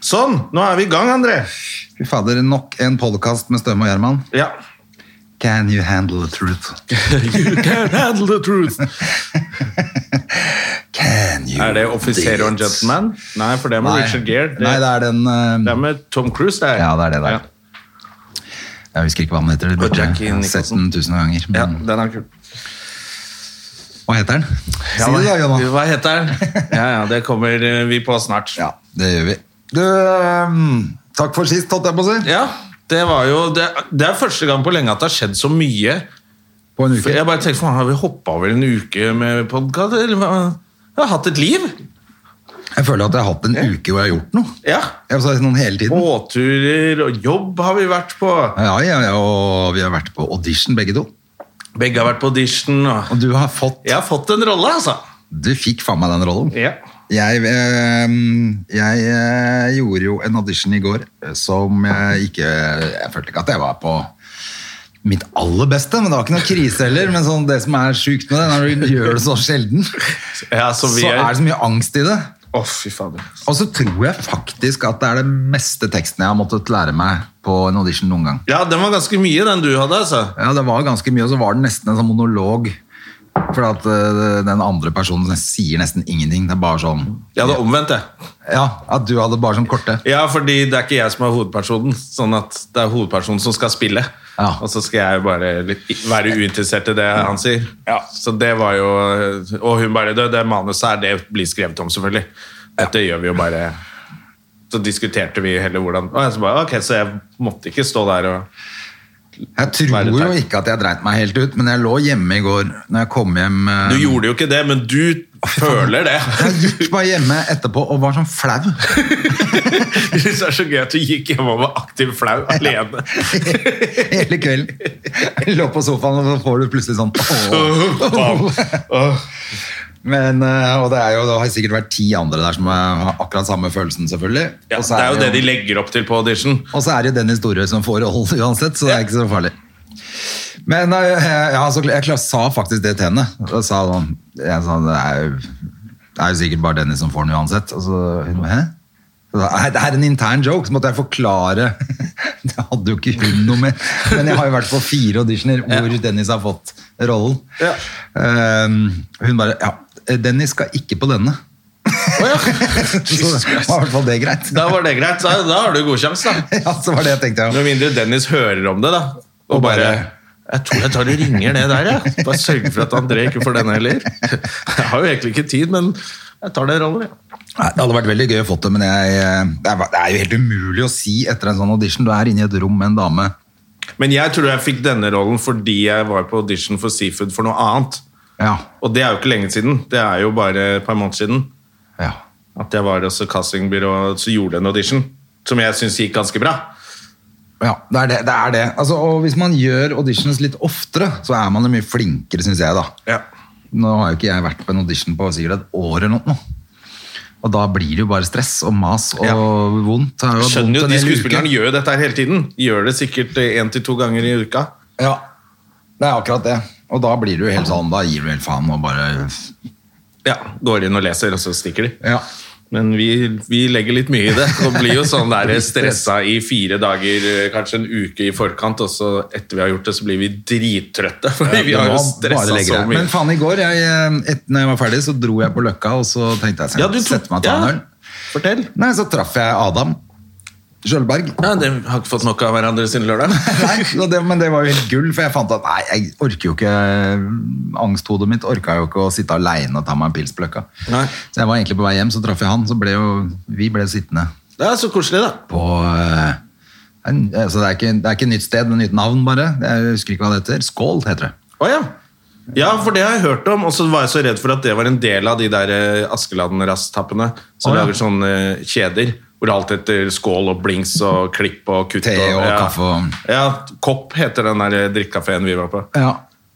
Sånn, nå er vi i gang, André. Fy fader, nok en podcast med Støm og Gjermann. Ja. Can you handle the truth? You can handle the truth. Can you Er det offiser og en dance? gentleman? Nei, for det er med Nei. Richard Gere. Nei, det er den... eh, det er med Tom Cruise, det er. Ja, det er det der. Ja. Jeg husker ikke hva den heter. det Og burde Jackie jeg ha Sett Nicholson. den tusen ganger. Ja, Men, den er kul. Hva heter den? Ja, si det da, Jonas. Hva heter den? Ja, ja, det kommer eh, vi på snart. Ja, det gjør vi. Du, ehm, takk for sist, holdt jeg på å si. Ja, det var jo Det, det er første gang på lenge at det har skjedd så mye. På en For uke. jeg bare tenkte, faen, Har vi hoppa over en uke med podkast? Jeg har hatt et liv! Jeg føler at jeg har hatt en uke hvor jeg har gjort noe. Ja. Jeg har sagt noen hele tiden. Båtturer og jobb har vi vært på. Ja, ja, ja, og vi har vært på audition begge to. Begge har vært på audition. Og Og du har fått... jeg har fått en rolle, altså. Du fikk faen meg den rollen. Ja. Jeg, ehm, jeg eh, gjorde jo en audition i går eh, som jeg ikke Jeg følte ikke at jeg var på mitt aller beste, men det var ikke noe krise heller. Men sånn, det som er sjukt med det, når du gjør det så sjelden, Ja, så så vi er er det så mye angst i det. Å, fy fader. Og så tror jeg faktisk at det er den meste teksten jeg har måttet lære meg på en audition noen gang. Ja, den var ganske mye, den du hadde, altså. Ja, det var ganske mye, og så var det nesten en sånn monolog. For at eh, den andre personen sier nesten ingenting. Det er bare sånn Jeg hadde omvendt, jeg. Ja, at du hadde bare sånn korte. Ja, fordi det er ikke jeg som er hovedpersonen. Sånn at det er hovedpersonen som skal spille. Ja. Og så skal jeg bare litt- være uinteressert i det han sier. Så det var jo Og hun bare Det, det manuset her, det blir skrevet om, selvfølgelig. Dette gjør vi jo bare Så diskuterte vi heller hvordan og jeg så, bare, ok, så jeg måtte ikke stå der og Jeg tror Være jo teit. ikke at jeg dreit meg helt ut, men jeg lå hjemme i går når jeg kom hjem. eh, Du gjorde jo ikke det, men du føler det. Jeg gikk bare hjemme etterpå og var sånn flau. Jeg synes det er så gøy at du gikk hjem og var aktiv flau alene. Hele kvelden. Jeg lå på sofaen, og så får du plutselig sånn åh. Men, eh, Og det, er jo, det har sikkert vært ti andre der som eh, har akkurat samme følelsen, selvfølgelig. Ja, Og så det er jo det de legger opp til på audition. Og så er det jo Dennis Dorø som får rollen uansett, så det er ikke så farlig. Men eh, ja, så jeg klar- sa faktisk det til henne. Og sa sånn, jeg sa, det, er jo, det er jo sikkert bare Dennis som får den uansett. Og så hun bare, hæ? Så sa jeg, «Nei, Det er en intern joke, så måtte jeg forklare. Det hadde jo ikke hun noe med. Men jeg har jo vært på fire auditioner hvor Dennis har fått rollen. Ja. Eh, hun bare Ja, Dennis skal ikke på denne. Så var i hvert fall det greit. Da var det greit. Da, da har du god sjanse, da. Ja, så var det jeg tenkte. Ja. Med mindre Dennis hører om det, da. Og, Og bare bare- Jeg tror jeg tar og ringer det der, jeg. Bare sørge for at André ikke får den heller. Jeg har jo egentlig ikke tid, men jeg tar den rollen, ja. Nei, Det hadde vært veldig gøy å få det, men jeg, eh, det, er, det er jo helt umulig å si etter en sånn audition. Du er inne i et rom med en dame. Men jeg tror jeg fikk denne rollen fordi jeg var på audition for Seafood for noe annet. Ja. Og det er jo ikke lenge siden. Det er jo bare et par måneder siden ja. at jeg var hos et castingbyrå som gjorde en audition. Som jeg syns gikk ganske bra. ja det er det. det, er det. Altså, og hvis man gjør auditions litt oftere, så er man jo mye flinkere, syns jeg. da. Nå har jo ikke jeg vært på en audition på sikkert et år eller noe. Og da blir det jo bare stress og mas og Ja. vondt. Det har jo Jeg vært skjønner jo, vondt en De hel uke. skuespillerne gjør jo dette her hele tiden. Gjør det sikkert én til to ganger i uka. Ja, det er akkurat det. Og da blir du jo helt sånn, da gir du helt faen og bare Ja, Går inn og leser, og så stikker de. Ja. Men vi, vi legger litt mye i det. Og blir jo sånn der stressa i fire dager, eh, kanskje en uke i forkant, og så etter vi har gjort det, så blir vi drittrøtte. Fordi vi Det har jo var bare stressa legge så deg. mye. Men faen, i går, jeg, et, når jeg var ferdig, så dro jeg på Løkka, og så tenkte jeg skal Ja, jeg du tok- sette meg og ta ja. en øl. Fortell. Nei, så traff jeg Adam Sjølberg. Ja, de har ikke fått nok av hverandre siden lørdag. Nei, så det, men det var jo helt gull, for jeg fant at nei, jeg orker jo ikke Angsthodet mitt orka jo ikke å sitte aleine og ta meg en pils på Løkka. Nei. Så jeg var egentlig på vei hjem, så traff jeg han, så ble jo vi ble sittende Det er så koselig, da. på eh, en, altså det, er ikke, det er ikke nytt sted, men nytt navn, bare. Jeg husker ikke hva det heter. Skål, heter det. Å ja. Ja, for det har jeg hørt om, og så var jeg så redd for at det var en del av de der eh, Askeland-rasstappene som Å, ja. lager sånne eh, kjeder. Hvor alt heter skål og blings og klipp og kutt. Te og kaffe og- Ja, Kopp heter den der drikkekafeen vi var på. Ja.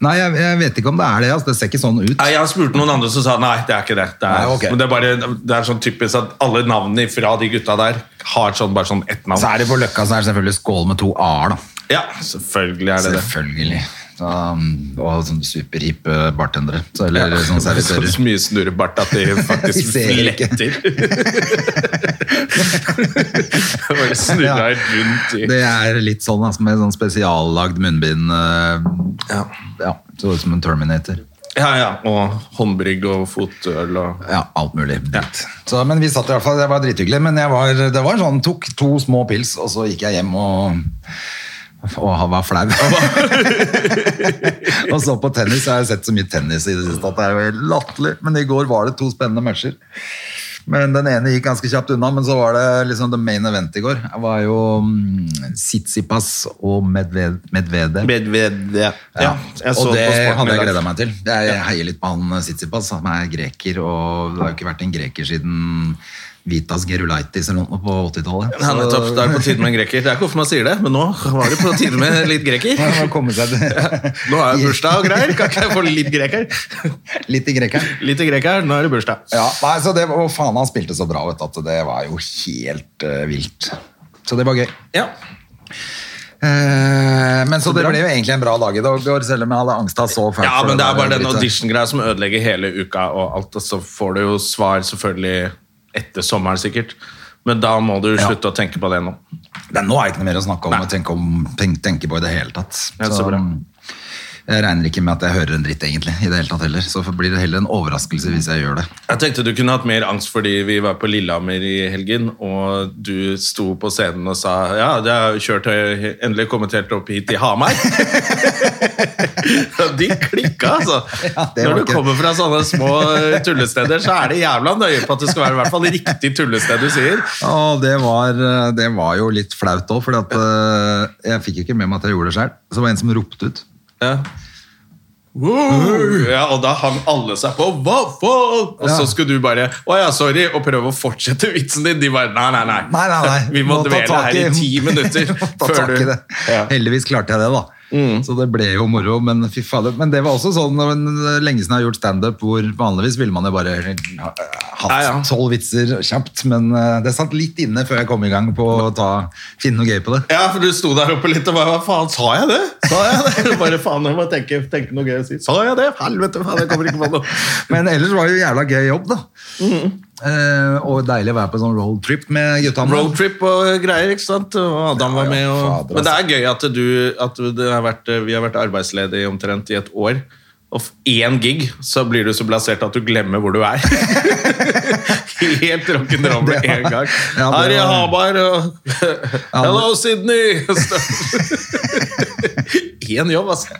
Nei, jeg, jeg vet ikke om det er det. Altså. Det ser ikke sånn ut. Nei, Jeg spurte noen andre som sa nei, det er ikke det. Det er, Nei, ok. men det er, bare, det er sånn typisk at alle navnene fra de gutta der har sånn, bare sånn ett navn. Så er det på Løkka så er det selvfølgelig skål med to a-er, da. Ja, selvfølgelig er det det. Selvfølgelig. Da, og sånne superhippe bartendere. Så, eller sånn Så servitører. mye snurrebart at de faktisk Vi ser ikke. fletter. Bare Ja. snurra helt rundt i Det er litt sånn altså, med sånn spesiallagd munnbind. eh, ja. ja, så ut som en Terminator. ja, ja. Og håndbrygg og fotøl og Ja, alt mulig. Så, men vi satt i hvert fall, det var drithyggelig. Men jeg var, det var sånn, tok to små pils, og så gikk jeg hjem og, og han var flau. og så på tennis, jeg har sett så mye tennis i det siste at det er jo helt latterlig. Men i går var det to spennende matcher. Men den ene gikk ganske kjapt unna, men så var det liksom the main event i går. Det var jo mm, Tsitsipas og Medved, Medvedev. Medvedev. Ja, og det hadde jeg gleda gleda meg til. Jeg heier litt på han eh, Sitsipas, som er greker, og det har jo ikke vært en greker siden Vitas Gerulaitis eller noe på 80-tallet. Ja, nettopp. Det er på tide med en greker. Det er ikke ofte man sier det, men nå var det på tide med litt greker. Så man må komme seg til- Nå er det bursdag og greier. Kan ikke jeg få litt greker? Litt i grekeren. Litt i grekeren, nå er det bursdag. Ja, nei, så det, og faen, han spilte så bra, vet du, at det var jo helt eh, vilt. Så det var gøy. Ja. Eh, men så, det bra. ble jo egentlig en bra dag i dag, selv om jeg hadde angsta så fælt. ja, for men det er der bare den dritet. audition-greia som ødelegger hele uka og alt, og så får du jo svar selvfølgelig etter sommeren sikkert. Men da må du Ja. slutte å tenke på det nå. Nei, nå er det ikke noe mer å snakke om Nei. og tenke, om, tenk- tenke på i det hele tatt. Ja, så bra. Jeg regner ikke med at jeg hører en dritt egentlig, i det hele tatt heller. Så blir det heller en overraskelse hvis jeg gjør det. Jeg tenkte du kunne hatt mer angst fordi vi var på Lillehammer i helgen, og du sto på scenen og sa ja, jeg har kjørt høy, endelig kommet helt opp hit til Hamar. Ja, De klikka, altså. Ja, det var Når du ikke- kommer fra sånne små eh, tullesteder, så er det jævla nøye på at det skal være i hvert fall riktig tullested du sier. Og det var, eh, det var jo litt flaut òg, for eh, jeg fikk ikke med meg at jeg gjorde det sjøl. Så det var en som ropte ut. Ja. ja, og da hang alle seg på. Hva faen? Og Ja. så skulle du bare Å ja, sorry, og prøve å fortsette vitsen din. De bare Nei, nei, nei. Nei, nei, nei. Vi må, ta dvele tak her i ti minutter ta før tak i du Mm. det. Heldigvis klarte jeg det, da. Så det ble jo moro, men fy fader. Men det var også sånn det var lenge siden jeg har gjort standup, hvor vanligvis ville man jo bare eh, ha- Ja, ja. hatt tolv vitser kjapt, men eh, det satt litt inne før jeg kom i gang på å ta, finne noe gøy på det. Ja, for du sto der oppe litt og bare Hva faen, sa jeg det? Sa jeg det? Bare faen, jeg må tenke, tenke noe gøy å si. Sa jeg det? Helvete, faen, jeg kommer ikke på noe. Men ellers var det jo jævla gøy jobb, da. Mm. Eh, og deilig å være på sånn roadtrip med gutta. Roadtrip og greier, ikke sant? Og Adam var Ja, ja, med. Og... fader, altså. Men det er gøy at, du, at det har vært, vi har vært arbeidsledige omtrent i et år. Og f- én gig, så blir du så blasert at du glemmer hvor du er. Helt rock'n'roll med Det var- en gang. Ja, det Her i var- Hamar og Hello, Sydney! Én jobb, altså.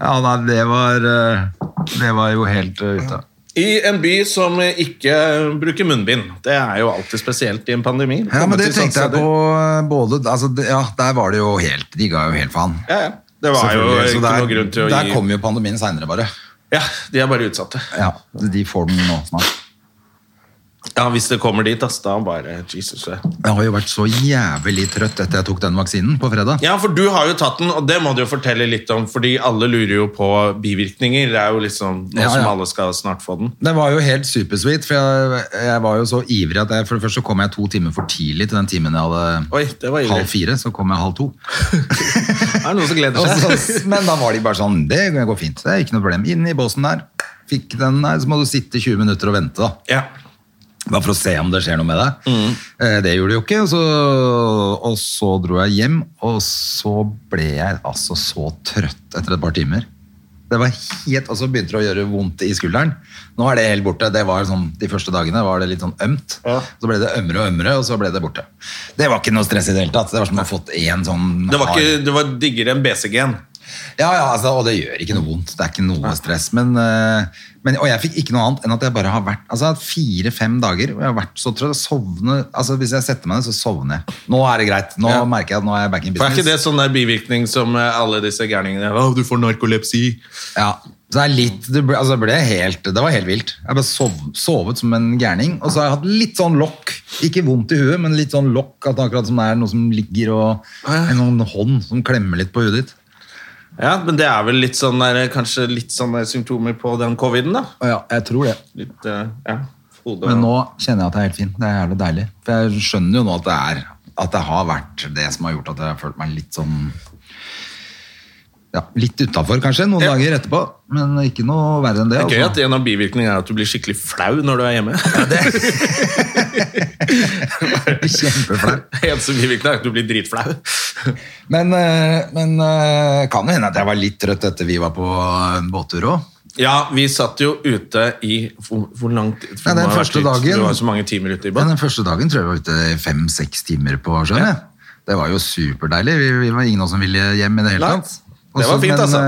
Ja, nei, det var, eh, det var jo helt eh, ute. I en by som ikke bruker munnbind. Det er jo alltid spesielt i en pandemi. Ja, men Komme det til sånne tenkte jeg steder. på både altså, det- Ja, der var det jo helt De ga jo helt faen. Ja, ja. Det var jo Selvfølgelig. Så ikke noe grunn til å der gi kom jo pandemien seinere, bare. Ja, de er bare utsatte. Ja, De får den nå snart. Ja, hvis det kommer dit, ass, da bare Jesus. det. Jeg har jo vært så jævlig trøtt etter jeg tok den vaksinen på fredag. Ja, for du har jo tatt den, og det må du jo fortelle litt om, fordi alle lurer jo på bivirkninger. Det er jo liksom nå Ja, som ja. alle skal snart få den. Det var jo helt supersweet, for jeg, jeg var jo så ivrig at jeg, for det første så kom jeg to timer for tidlig til den timen jeg hadde Oi, det var ivrig. halv fire. Så kom jeg halv to. Er det noen som Og gleder seg? så, men da var de bare sånn Det går fint. Det er ikke noe problem. Inn i båsen der. Fikk den der, så må du sitte 20 minutter og vente, da. Ja. Bare for å se om det skjer noe med deg. Mm. Eh, Det gjorde det jo ikke. Og så, og så dro jeg hjem, og så ble jeg altså så trøtt etter et par timer. Det var helt, Og så begynte det å gjøre vondt i skulderen. Nå er det helt borte. Det var sånn, De første dagene var det litt sånn ømt. Så ble det ømmere og ømmere, og så ble det borte. Det var ikke noe stress i det hele tatt. Det var som å ha fått én sånn Det var, hard- ikke, det var diggere enn BCG-en. ja, ja altså, og det gjør ikke noe vondt. Det er ikke noe stress. Men, eh, men, og jeg fikk ikke noe annet enn at jeg bare har vært altså, fire-fem dager og jeg har vært så trøtt. Sovne, altså, hvis jeg setter meg ned, så sovner jeg. Nå er det greit. Nå Ja. merker jeg at nå er jeg back in For er ikke business. det sånn der bivirkning som eh, alle disse gærningene Å, du får narkolepsi. Ja, så det er litt, det ble, altså, det ble helt, det var helt vilt. Jeg bare sov, sovet som en gærning, og så har jeg hatt litt sånn lokk Ikke vondt i huet, men litt sånn lokk. At det akkurat som det er noe som ligger og En sånn hånd som klemmer litt på huet ditt. Ja, men det er vel litt sånn der, kanskje litt sånn der symptomer på den coviden, da. Ja, jeg tror det. Litt, eh, ja, hodet Men nå kjenner jeg at jeg er helt fin. Det er jævlig deilig. For jeg skjønner jo nå at det er at det har vært det som har gjort at jeg har følt meg litt sånn ja, Litt utafor, kanskje, noen Ja. dager etterpå. Men ikke noe verre enn det. Det er gøy altså. at en av bivirkningene er at du blir skikkelig flau når du er hjemme. Ja, det Kjempeflau. Eneste bivirkning er at du blir dritflau. Men, eh, men eh, kan jo hende at jeg var litt trøtt etter vi var på eh, båttur òg. Ja, vi satt jo ute i Hvor, hvor lang tid? Ja, den Du har vært første ute- dagen- Du var så mange timer ute i Men båt. den første dagen tror jeg vi var ute fem-seks timer på sjøen. jeg. Det var jo superdeilig. Vi, vi var ingen av oss som ville hjem i det hele Nei. tatt. Det Også- var fint, men, altså.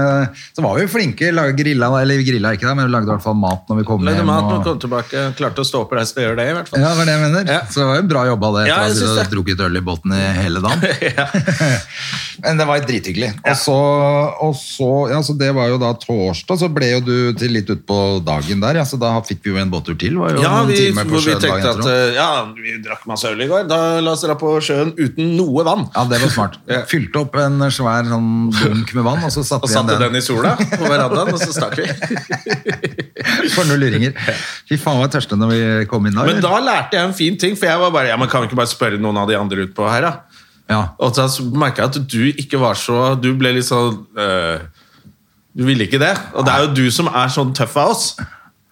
eh, Så var vi jo flinke. Laga grilla, eller vi grilla ikke, da, men vi lagde i hvert fall mat når vi kom Lagde hjem. mat og og- kom tilbake. Klarte å stå oppreist og gjøre det, i hvert fall. Ja, det var det jeg mener. Ja. Så det var jo bra jobba det. Ja, etter at jeg vi synes hadde drukket øl i båten i hele dagen. Men det var drithyggelig. Og så, og så, ja, så det var jo da torsdag, så ble jo du til litt utpå dagen der, ja, så da fikk vi jo en båttur til. Var jo Ja, noen vi, timer på hvor vi sjøen tenkte dagen at etter også. eh, ja, vi drakk masse øl i går. Da la oss dra på sjøen uten noe vann. Ja, det var smart. Ja. Fylte opp en svær sånn dunk med vann, og så satte Og vi igjen satte den. den i sola på verandaen, og så stakk vi. For null ringer. Fy faen, var jeg tørste når vi kom inn der. Men da lærte jeg en fin ting, for jeg var bare Ja, men kan vi ikke bare spørre noen av de andre utpå her, da? Ja. Og da merka jeg at du ikke var så Du ble litt sånn øh, Du ville ikke det. Og det er jo du som er sånn tøff av oss.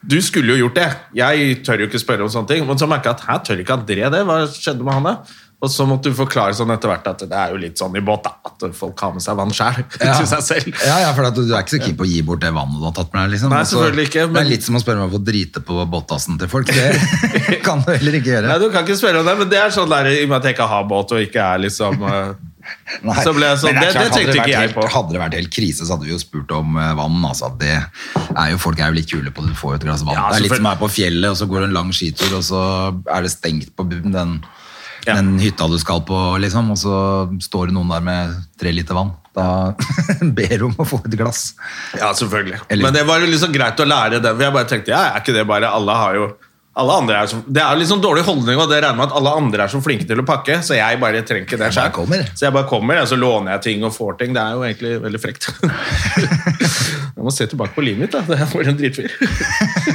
Du skulle jo gjort det. Jeg tør jo ikke spørre om sånne ting. Men så merka jeg at her tør ikke André det. Hva skjedde med han da? Og så måtte du forklare sånn etter hvert at det er jo litt sånn i båt, da. At folk har med seg vann sjæl til seg selv. Ja, ja, for at du er ikke så keen på å gi bort det vannet du har tatt med deg. Liksom. Nei, Altså, selvfølgelig ikke, Det men- er litt som å spørre meg om å drite på båttassen til folk. Det kan du heller ikke Nei, gjøre. du kan ikke spørre om det, men det er sånn der, i og med at jeg ikke har båt og ikke er liksom øh, Nei. så ble jeg sånn, Men er det- det klart, hadde tenkte ikke vært jeg helt, på. Hadde det vært helt krise, så hadde vi jo spurt om eh, vann. Altså, det er jo, folk er jo litt kule på det. Du får jo et glass vann. Ja, det er litt selvfølgelig. som er på fjellet, og så går du en lang skitur, og så er det stengt på bu- den, Ja. den hytta du skal på, liksom, og så står det noen der med tre liter vann. Da ber du om å få et glass. Ja, selvfølgelig. Eller- Men det var jo liksom greit å lære det. For jeg bare tenkte, ja, er ikke det bare Alle har jo alle andre er så, Det er jo liksom dårlig holdning, og det regner med at alle andre er så flinke til å pakke, så jeg bare trenger ikke det Jeg bare selv. kommer. Så jeg bare kommer, og så låner jeg ting og får ting. Det er jo egentlig veldig frekt. jeg må se tilbake på livet mitt, da. Det er bare en dritfyr.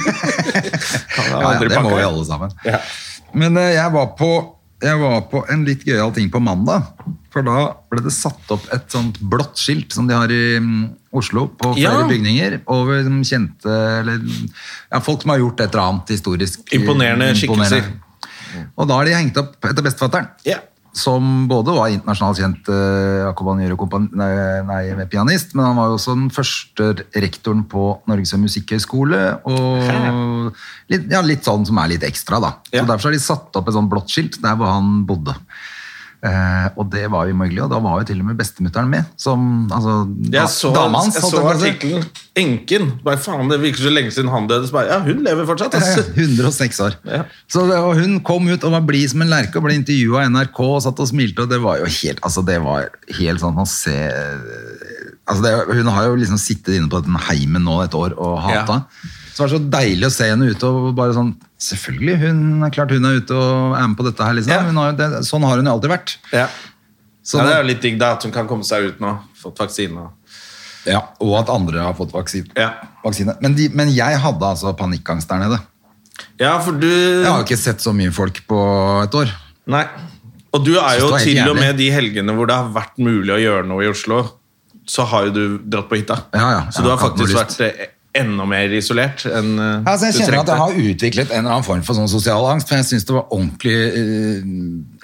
Han Ja, har ja, aldri det må pakket. vi alle sammen. Ja. Men eh, jeg var på, jeg var på en litt gøyal ting på mandag. For da ble det satt opp et sånt blått skilt som de har i mm, Oslo på flere Ja. bygninger. Over mm, kjente eller, ja, folk som har gjort et eller annet historisk. Imponerende skikkelser. Og da har de hengt opp etter bestefatteren. Ja. Som både var internasjonalt kjent eh, Jacob Van Jure kompan- nei, nei, pianist, men han var jo også den første rektoren på Norges musikkhøgskole. Og litt, ja, litt sånn som er litt ekstra, da. Ja. Så Derfor har de satt opp et sånt blått skilt der hvor han bodde. Eh, og det var jo mulig, og da var jo til og med bestemutteren med. Som altså, da, Jeg så, dama hans. jeg holdt så på å si. artikkelen. Enken. Bare faen, det virker så lenge siden han døde. Så bare, ja, hun lever fortsatt, Ja, ja, altså. 106 år. Ja. Så det, og hun kom ut og var blid som en lerke og ble intervjua av NRK og satt og smilte, og det var jo helt altså det var helt sånn å se altså det, Hun har jo liksom sittet inne på den heimen nå et år og hata. Så det var så deilig å se henne ute og bare sånn Selvfølgelig, hun er klart hun er ute og er med på dette her, liksom. Ja. Hun har, jo- det, sånn har hun jo alltid vært. Ja. Så ja, det er jo det- litt digg da, at hun kan komme seg ut nå. Fått vaksine. og- ja, og at andre har fått vaksine. Ja. vaksine. Men, de, men jeg hadde altså panikkangst der nede. Ja, for du... Jeg har jo ikke sett så mye folk på et år. Nei. Og du er Synes det jo var helt til og jævlig. med de helgene hvor det har vært mulig å gjøre noe i Oslo, så har jo du dratt på hytta. Ja, ja. Så du Ja, jeg har har ikke faktisk noe vært lyst. eh, enda mer isolert enn eh, Ja, altså jeg du kjenner at trengte. jeg har utviklet en eller annen form for sånn sosial angst, for jeg syns det var ordentlig eh,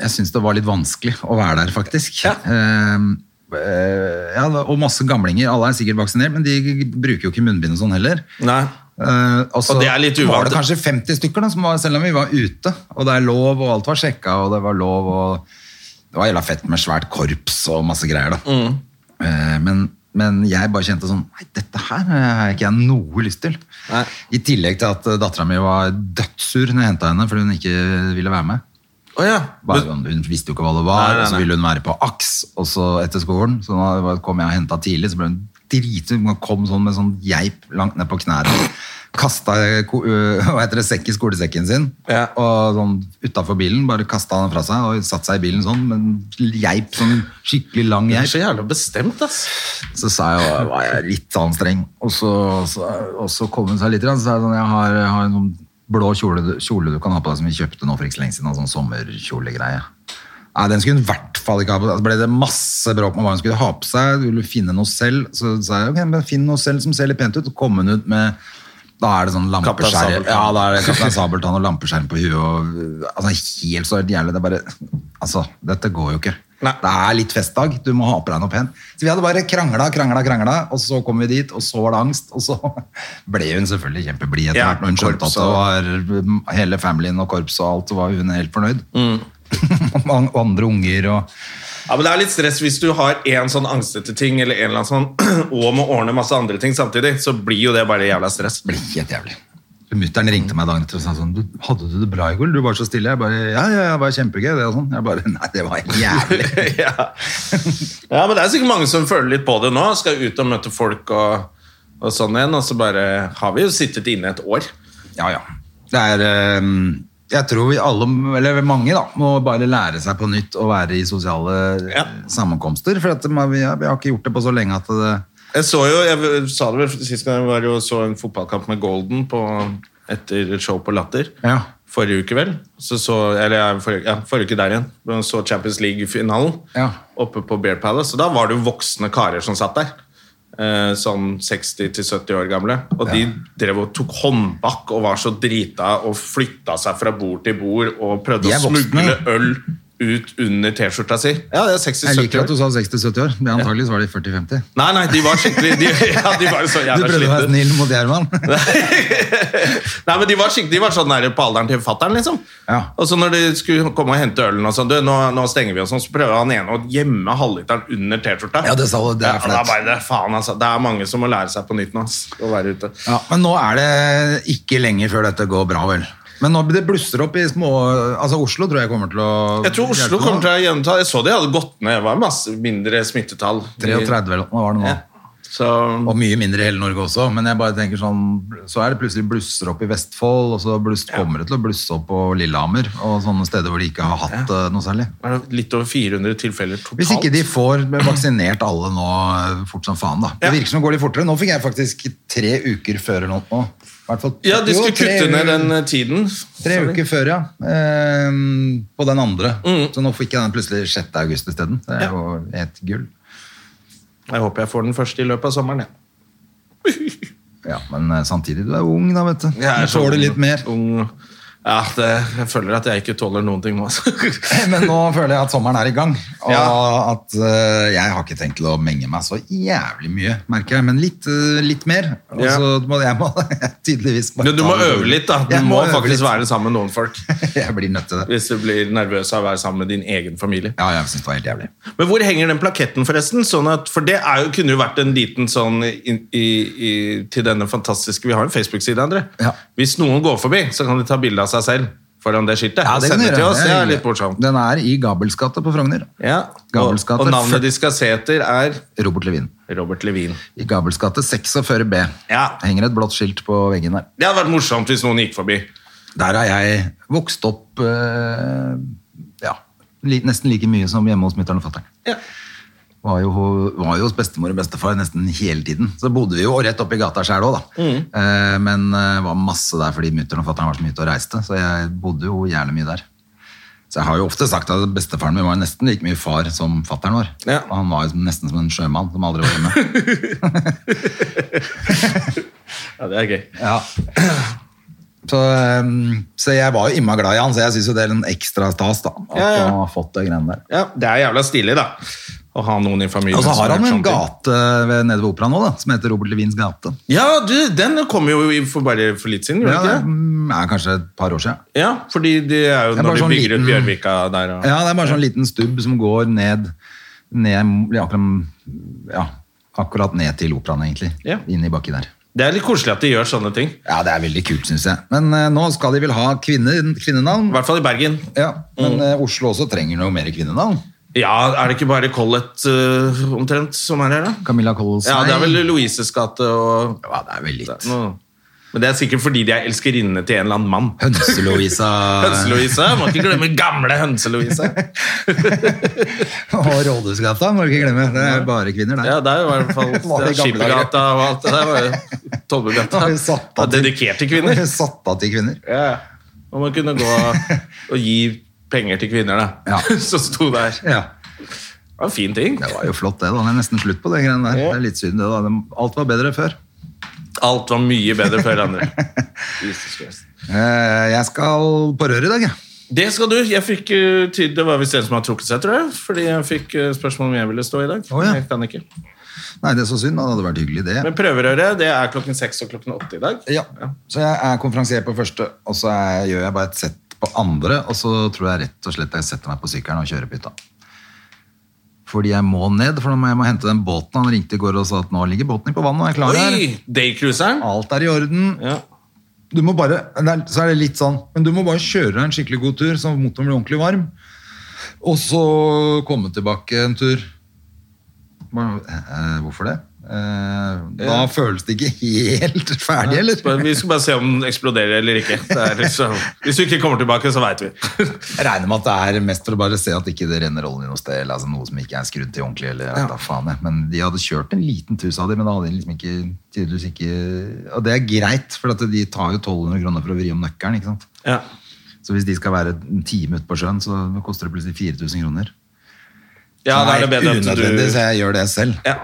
Jeg syns det var litt vanskelig å være der, faktisk. Ja. Eh, eh, ja, og masse gamlinger. Alle er sikkert vaksinert, men de bruker jo ikke munnbind og sånn heller. Nei. Eh, og så Og det er litt uvant. var det kanskje 50 stykker, da, som var, selv om vi var ute. Og det er lov, og alt var sjekka, og det var lov, og det var jævla fett med svært korps og masse greier. da. Mm. Eh, men, men jeg bare kjente sånn Nei, dette her har ikke jeg noe lyst til. Nei. I tillegg til at dattera mi var dødssur når jeg henta henne fordi hun ikke ville være med. Å ja. Bare, sånn, hun visste jo ikke hva det var, Nei, nei, og så nei. ville hun være på AKS også etter skolen. Så da var- kom jeg og henta tidlig, så ble hun dritsur. Han kom sånn med sånn geip langt ned på knærne. Kasta eh, ko- øh, hva heter det, sekk i skolesekken sin, Ja. og sånn utafor bilen. Bare kasta han fra seg og satte seg i bilen sånn, med en geip, sånn skikkelig lang Jeg er geip. så jævla bestemt, ass. Så sa jeg, var jeg litt sånn streng. Og så, så, og så kom hun seg litt, grann, så sa jeg sånn, jeg har, jeg har en sånn blå kjole, du- kjole du kan ha på deg som vi kjøpte nå for ikke så lenge siden, en sånn sommerkjolegreie. Nei, den skulle hun i hvert fall ikke ha på. seg. Så ble det masse bråk med hva hun skulle ha på seg. Hun ville finne noe selv. Så sa jeg, ok, men finn noe selv som ser litt pent ut. Og kom hun ut med, da er det sånn Kaptein lampeskjær. Sabeltann. Ja, da er det Kaptein Sabeltann og lampeskjerm på huet. Og, altså, helt så jævlig. Det er bare, altså, dette går jo ikke. Nei. Det er litt festdag, du må ha på deg noe pent. Så vi hadde bare krangla, krangla, krangla, og så kom vi dit, og så var det angst, og så ble hun selvfølgelig kjempeblid etter Ja, hvert. Når hun skjønte at korps det var mm, hele familien og korpset og alt, så var hun helt fornøyd. Mm. og andre unger og Ja, men Det er litt stress hvis du har en sånn angstete ting eller en eller annen sånn, og må ordne masse andre ting samtidig. Så blir jo det bare jævla stress. ble helt jævlig. Mutter'n ringte meg dagen etter og sa sånn du, 'Hadde du det bra i går? Du var så stille.' Jeg bare 'Ja, ja, det var kjempegøy', det og sånn. Jeg bare 'Nei, det var jævlig'. ja. ja, men det er sikkert mange som føler litt på det nå. Skal ut og møte folk og, og sånn igjen. Og så bare har vi jo sittet inne et år. Ja, ja. Det er eh, Jeg tror vi alle, eller mange, da, må bare lære seg på nytt å være i sosiale eh, Ja. sammenkomster. For at man, vi, har, vi har ikke gjort det på så lenge at eh, det Jeg så jo, jeg sa det vel sist gang jeg var og så en fotballkamp med Golden på, etter show på Latter. Ja. Forrige uke, vel. Så så, eller ja, forrige, ja, forrige uke der igjen. Men Så Champions League-finalen Ja. oppe på Bear Palace. Og da var det jo voksne karer som satt der. Eh, sånn 60-70 år gamle. Og de drev og tok håndbak og var så drita og flytta seg fra bord til bord og prøvde De er å smugle voksne. øl ut under T-skjorta si. Ja, det er 60-70 år. Jeg liker at du sa 60-70 år, men antakeligvis var de 40-50. Nei, nei, de var skikkelig De, ja, de var jo så Du jævla prøvde å være slitne. snill mot Gjerman. Nei, men de var, skikkelig, de var sånn der på alderen til fatteren, liksom. Ja. Og så når de skulle komme og hente ølen og sånn, du, nå, nå stenger vi og sånn, så prøver han ene å gjemme halvliteren under T-skjorta. Ja, det sa du, det er Ja, da flaut. bare, det, faen, altså. Det er mange som må lære seg på nytt nå, ass, å være ute. Ja, men nå er det ikke lenge før dette går bra, vel. Men nå det blusser opp i små Altså Oslo tror jeg kommer til å Jeg tror Oslo kommer til å gjenta Jeg så de hadde gått ned, det var masse mindre smittetall. 33 eller noe var det nå. Ja. Så Og mye mindre i hele Norge også, men jeg bare tenker sånn, så er det plutselig blusser opp i Vestfold, og så bluss, kommer det til å blusse opp på Lillehammer, og sånne steder hvor de ikke har hatt eh, noe særlig. er det litt over 400 tilfeller totalt. Hvis ikke de får vaksinert alle nå eh, fort som faen, da. Det Ja. virker som det går litt fortere. Nå fikk jeg faktisk tre uker før eller noe. nå. I hvert fall- Ja, de jo, skulle tre- kutte ned den eh, tiden. Tre Sorry. Mm. uker før, ja. Ehm, på den andre. Så nå fikk jeg den plutselig 6. august isteden. Det Ja. er jo et gull. Jeg håper jeg får den første i løpet av sommeren, jeg. Ja, men eh, samtidig, du er ung da, vet du. Jeg er Du så tåler ung- litt mer. Ung. Ja, det, jeg føler at jeg ikke tåler noen ting nå. altså. Men nå føler jeg at sommeren er i gang, og Ja. at eh, jeg har ikke tenkt til å menge meg så jævlig mye, merker jeg, men litt, eh, litt mer. Og Ja. så må jeg må tydeligvis Du, bare du ta må det øve rolig. litt, da. Du Jeg må øve faktisk litt. være sammen med noen folk. Jeg blir nødt til det. Hvis du blir nervøs av å være sammen med din egen familie. Ja, jeg synes det var helt jævlig. Men hvor henger den plaketten, forresten? Sånn at, for det er jo, kunne jo vært en liten sånn i, i, i, til denne fantastiske Vi har en Facebook-side, André. Ja. Hvis noen går forbi, så kan de ta bilde av seg selv foran det skiltet. og kan du sende til gjøre. oss. Det er Det er hyggelig. litt morsomt. Den er i Gabelsgata på Frogner. Ja. Og, Gabelsgate og navnet ført- de skal se etter, er Robert Levin. Robert Levin. I Gabelsgate 46 B. Ja. Henger et blått skilt på veggen der. Det hadde vært morsomt hvis noen gikk forbi. Der har jeg vokst opp eh, ja, li, nesten like mye som hjemme hos mutter'n og fatter'n. Ja. Var jo, var jo hos bestemor og bestefar nesten hele tiden. Så bodde vi jo rett oppi gata sjæl òg, da. Mm. Eh, men eh, var masse der fordi mutter'n og fatter'n var så mye ute og reiste. Så jeg bodde jo gjerne mye der. Så jeg har jo ofte sagt at bestefaren min var nesten like mye far som fatter'n var. Ja. Og han var jo nesten som en sjømann som aldri var hjemme. Ja, det er gøy. Ja. Så, um, så jeg var jo imma glad i han, så jeg syns jo det er en ekstra stas da, at Ja, ja. han har fått det greiene der. Ja, det er jævla stilig, da. Å ha noen i familien. Og så har som han en gjør sånne ting. gate ved, nede ved operaen nå, da, som heter Robert Levins gate. Ja, du, den kom jo i- for bare for litt siden, Det gjorde den er, ikke det? mm, er kanskje et par år siden. Ja, fordi det er jo Det er når bare de sånn bygger ut liten- Bjørvika der og Ja, det er bare sånn liten stubb som går ned, ned akkurat, ja, akkurat ned til operaen, egentlig. Ja. Inn i bakki der. Det er litt koselig at de gjør sånne ting. Ja, det er veldig kult, syns jeg. Men eh, nå skal de vel ha kvinner, kvinnenavn? I hvert fall i Bergen. Mm. Ja, men eh, Oslo også trenger noe mer kvinnenavn. Ja, er det ikke bare Collett eh, omtrent som er her, da? Camilla Coles Ja, det er vel Louises gate og Ja, det er vel litt. noe. Men det er sikkert fordi de er elskerinnene til en eller annen mann. Hønse-Louisa Hønse-Louise. Må ikke glemme gamle Hønse-Louise. og Rådhusgata, må du ikke glemme. Det er bare kvinner der. Ja, der var i hvert fall Var det i gamle Skippergata og alt det der. var jo Tollbugata. Da har vi satt Ja, av til- Dedikerte kvinner. Satt av til kvinner. Ja, ja. Og man kunne gå og gi penger til kvinner, da. Ja. Som sto der. Det Ja. var en fin ting. Det var jo flott, det. da. Det er nesten slutt på det greiene der. Det er litt synd, det. da. Det- Alt var bedre før. Alt var mye bedre før andre. Jesus Christ. Eh, Jeg skal på røret i dag, jeg. Det skal du. Jeg fikk eh, tid, Det var visst en som har trukket seg, tror jeg. Fordi jeg fikk eh, spørsmål om jeg ville stå i dag. Å, ja. Jeg kan ikke. Nei, det er så synd. da. Det hadde vært hyggelig, det. Men prøverøret det er klokken seks og klokken åtte i dag. Ja. Så jeg er konferansier på første, og så er, gjør jeg bare et sett på andre, og så tror jeg rett og slett jeg setter meg på sykkelen og kjører på hytta. Fordi jeg må ned, for nå må jeg må hente den båten. Han ringte i går og sa at nå ligger båten på vannet, og jeg er klar her. Oi! Daycruiseren. Alt er i orden. Ja. Du må bare, det er- så er det litt sånn, men du må bare kjøre en skikkelig god tur, så motoren blir ordentlig varm. Og så komme tilbake en tur. Bare, eh, hvorfor det? Eh, da føles det ikke helt ferdig, eller? Bare- Vi skal bare se om den eksploderer eller ikke. Det er liksom, hvis du ikke kommer tilbake, så veit vi. Jeg regner med at det er mest for å bare se at ikke det renner olje noe sted, eller altså noe som ikke er skrudd til ordentlig, eller jeg vet da faen jeg. Men de hadde kjørt en liten tur, sa de, men da hadde de liksom ikke, tydeligvis ikke, og det er greit, for at de tar jo 1200 kroner for å vri om nøkkelen, ikke sant? Ja. Så hvis de skal være en time ute på sjøen, så koster det plutselig 4000 kroner. ja, da er det bedre at unødvendig, du så jeg gjør det selv. ja.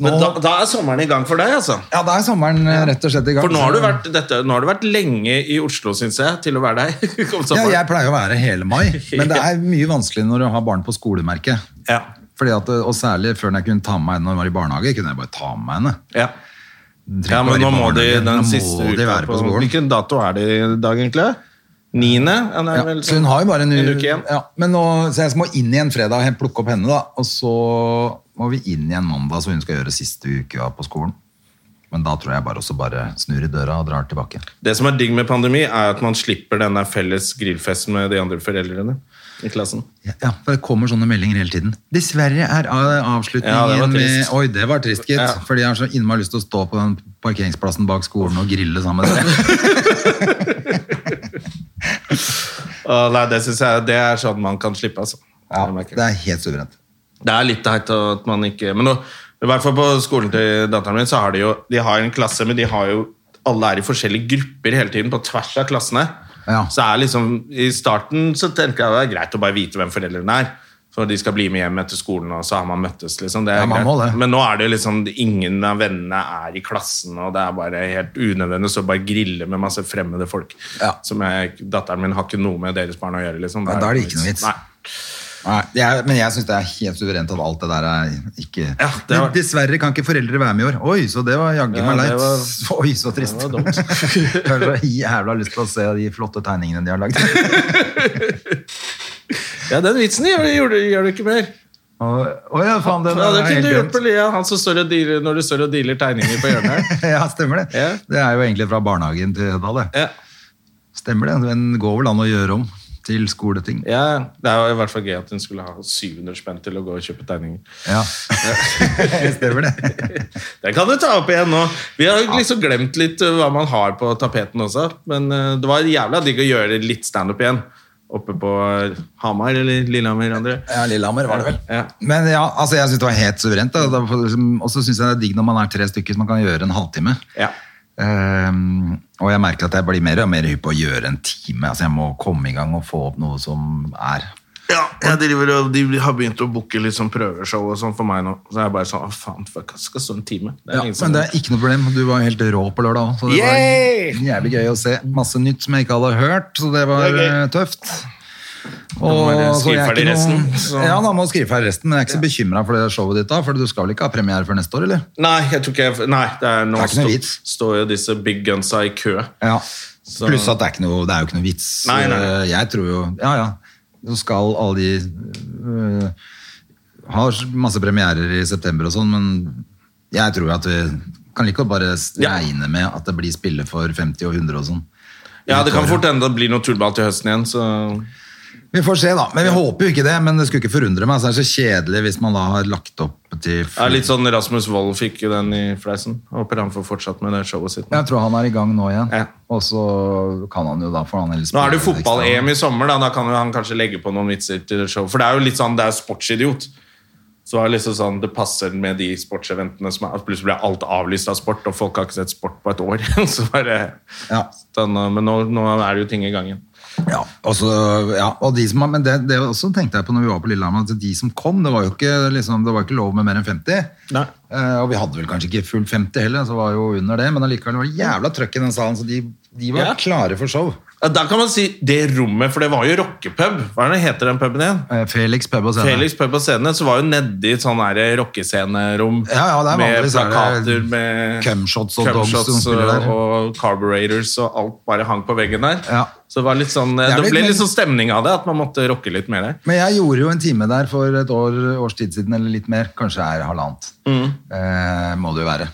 Nå, Men da, da er sommeren i gang for deg, altså. ja, da er sommeren eh, rett og slett i gang. For nå har du så- vært, dette, nå har du vært lenge i Oslo, syns jeg, til å være deg. Kom Ja, sommeren. jeg pleier å være hele mai, men det er mye vanskeligere når du har barn på skolemerket. Ja. Fordi at, eh, og særlig før når jeg kunne ta med meg henne når hun var i barnehage, kunne jeg bare ta med henne. Ja. Hun trenger ja, ikke være i men nå må de barnehage, den nå siste må de uka være på skolen. Hvilken dato er det i dag, egentlig? Niende? Ja, det er Ja, vel sånn? så hun har jo bare en, en u- uke igjen. Ja, men nå, så jeg må inn igjen fredag og plukke opp henne, da. Og så må vi inn igjen mandag, så hun skal gjøre siste uka på skolen. Men da tror jeg bare også bare snur i døra og drar tilbake. Det som er digg med pandemi, er at man slipper den der felles grillfesten med de andre foreldrene i klassen. Ja, ja, for det kommer sånne meldinger hele tiden. Dessverre er a- Ja, det var avslutningen med trist. Oi, det var trist, gitt. Ja. Fordi jeg har så innmari lyst til å stå på den parkeringsplassen bak skolen og grille sammen med dere. Å, nei, det synes jeg det er sånn man kan slippe, altså. Ja, Jeg merker det. det er helt suverent. Det er litt teit at man ikke Men nå, i hvert fall på skolen til datteren min, så har de jo De har en klasse, men de har jo Alle er i forskjellige grupper hele tiden, på tvers av klassene. Ja. Så er liksom I starten så tenker jeg det er greit å bare vite hvem foreldrene er. For de skal bli med hjem etter skolen, og så har man møttes, liksom. Det er Ja, man må greit. det. Men nå er det liksom ingen av vennene er i klassen, og det er bare helt unødvendig å bare grille med masse fremmede folk. Ja. Som jeg, datteren min har ikke noe med deres barn å gjøre, liksom. Ja, da er det ikke noe vits. Nei. Nei, det er, men jeg syns det er helt suverent at alt det der er ikke Ja, det var- Men Dessverre kan ikke foreldre være med i år. Oi, så det var jaggu Ja, meg leit. det var- Oi, så trist. det var dumt. jeg har så jævla lyst til å se de flotte tegningene de har lagd. Ja, den vitsen gjør, gjør, du- gjør du ikke mer. Og- Å ja, faen, den Ja, det er kunne du helt gjort på glemt. Lia, han som står og dealer, når du står og dealer tegninger på hjørnet. Ja, stemmer det. Ja. Det er jo egentlig fra barnehagen til Hødal, det. Ja, Stemmer det. Men det går vel an å gjøre om til skoleting. ja, Det er jo i hvert fall gøy at hun skulle ha 700 spenn til å gå og kjøpe tegninger. Ja. Stemmer det. Det kan du ta opp igjen nå. Vi har liksom glemt litt uh, hva man har på tapeten også. Men uh, det var jævla digg å gjøre litt standup igjen. Oppe på Hamar eller Lillehammer, André. Ja, Lillehammer var det vel. Ja. Men ja, altså jeg syns det var helt suverent. da. Da får liksom- Og så syns jeg det er digg når man er tre stykker som man kan gjøre en halvtime. Ja. Ehm, og jeg merker at jeg blir mer og mer hypp på å gjøre en time. Altså Jeg må komme i gang og få opp noe som er Ja, jeg driver og De har begynt å booke litt sånn prøveshow og sånn for meg nå. Så jeg er bare sånn Å, faen, fuck, jeg skal stå en time. Det ja, ingen som- Men det er ikke noe problem. Du var helt rå på lørdag òg. Så det Yay! var jævlig gøy å se. Masse nytt som jeg ikke hadde hørt, så det var Det er gøy. eh, tøft. må bare så skrive jeg er ferdig ikke noe- resten, så- Ja, da må du skrive ferdig resten. Men jeg er ikke så bekymra for det showet ditt da, for du skal vel ikke ha premiere før neste år, eller? Nei, jeg tror ikke jeg Nei, det er nå Det er ikke noe stå- vits. står jo disse big gunsa i kø. Ja. Så- Pluss at det er, ikke noe, det er jo ikke noe vits. Nei, nei, nei. Eh, Jeg tror jo Ja, ja. Så skal alle de øh, Har masse premierer i september og sånn, men jeg tror at vi kan like godt bare s- Ja. regne med at det blir spille for 50 og 100 og sånn. Ja, det kan fort hende det blir noe tullball til høsten igjen, så Vi får se, da. Men vi håper jo ikke det. Men det skulle ikke forundre meg. Så er det så kjedelig hvis man da har lagt opp til Det er litt sånn Rasmus Wold fikk jo den i fleisen. Håper han får fortsatt med det showet sitt. Jeg tror han er i gang nå igjen. Ja. Og så kan han jo da for han Nå er det jo fotball-EM i sommer, da. da kan jo han kanskje legge på noen vitser til show. For det er jo litt sånn, det er sportsidiot. Så det, er liksom sånn, det passer med de sportseventene som er at Plutselig ble alt avlyst av sport, og folk har ikke sett sport på et år. så bare, Ja. sånn, men nå, nå er det jo ting i gangen. Ja, og så- ja, og de som, har- men det, det også tenkte jeg på når vi var på Lillehammer, at de som kom, det var jo ikke, liksom, det var ikke lov med mer enn 50. Nei. Eh, og vi hadde vel kanskje ikke fullt 50 heller, så var jo under det, men allikevel var det jævla trøkk i den salen, så de, de var Ja. klare for show. Ja, Da kan man si det rommet, for det var jo rockepub. Hva er det heter den puben igjen? Eh, Felix Pub og Scene. Felix pub og scene, så var jo nedi et sånn her rockescenerom Ja, ja, det er med vanligvis er det plakater med cumshots og dogs som cumshots spiller der. og carburetors og alt bare hang på veggen der. Ja. Så det, var litt sånn, er litt- det ble litt sånn stemning av det, at man måtte rocke litt mer der. Men jeg gjorde jo en time der for et år, års tid siden, eller litt mer, kanskje er halvannet. Mm. Eh, må det jo være.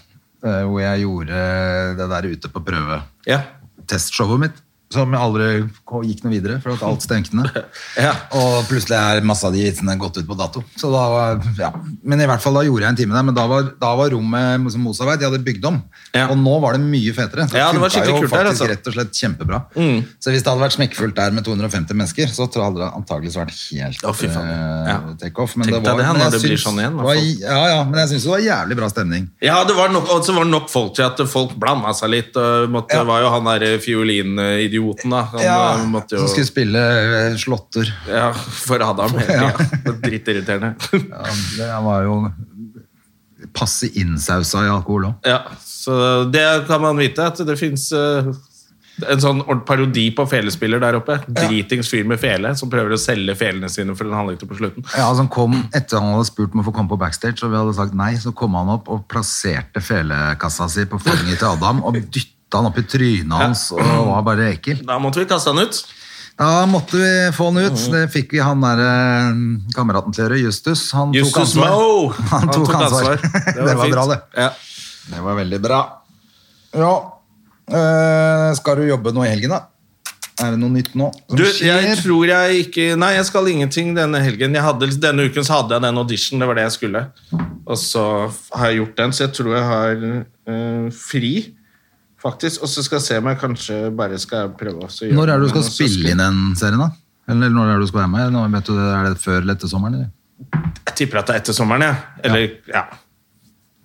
Eh, hvor jeg gjorde det der ute på prøve. Ja. testshowet mitt, som jeg aldri ko- gikk noe videre, for at alt stengte ned. Ja. Og plutselig er masse av de hitsene gått ut på dato. Så da var, ja. Men i hvert fall da gjorde jeg en time der, men da var, da var rommet som Mosa vet, de hadde bygd om. Ja. Og nå var det mye fetere. Så Ja, det var funka skikkelig jo kult der, faktisk altså. Mm. rett og slett kjempebra. Så hvis det hadde vært smekkfullt der med 250 mennesker, så tror jeg hadde det antageligvis vært helt Å, fy faen. eh, Ja. take-off. Men Tenk deg var- det, men jeg når det blir syns sånn igjen, da, det var- folk. Ja, ja, men jeg syns det var jævlig bra stemning. Ja, det var nok, og så var det nok folk til at folk blanda seg litt. og Måtte, Ja. Var jo han derre fiolinidioten, da. Han Ja, eh, måtte jo Som skulle spille eh, slåtter. ja, for Adam. Ja. Ja. Drittirriterende. Ja, det var jo passe innsausa i alkohol òg. Ja, så det kan man vite at det fins en sånn ord- parodi på felespiller der oppe. Dritings fyr med fele som prøver å selge felene sine for en halvliter på slutten. Ja, altså han kom etter han hadde spurt om å få komme på backstage, og vi hadde sagt nei, så kom han opp og plasserte felekassa si på fanget til Adam og dytta han opp i trynet hans og var bare ekkel. Da måtte vi kaste han ut. Da måtte vi få han ut. Det fikk vi han der eh, kameraten til å gjøre, Justus. Han tok Justus ansvar. Moe! Han tok ansvar. Det var fint. bra, det. Ja. Det var veldig bra. Ja, eh, skal du jobbe nå i helgen, da? Er det noe nytt nå som Du, jeg skjer? tror jeg ikke Nei, jeg skal ingenting denne helgen. Jeg hadde, denne uken så hadde jeg den audition, det var det jeg skulle. Og så har jeg gjort den, så jeg tror jeg har eh, fri, faktisk. Og så skal jeg se om jeg kanskje bare skal prøve å så gjøre Når er det du noe, altså, skal og så spille inn den serien, da? Eller når er det du skal være med? Nå vet du, det, er det før lette sommeren? Eller? Jeg tipper at det er etter sommeren, jeg. Eller, ja.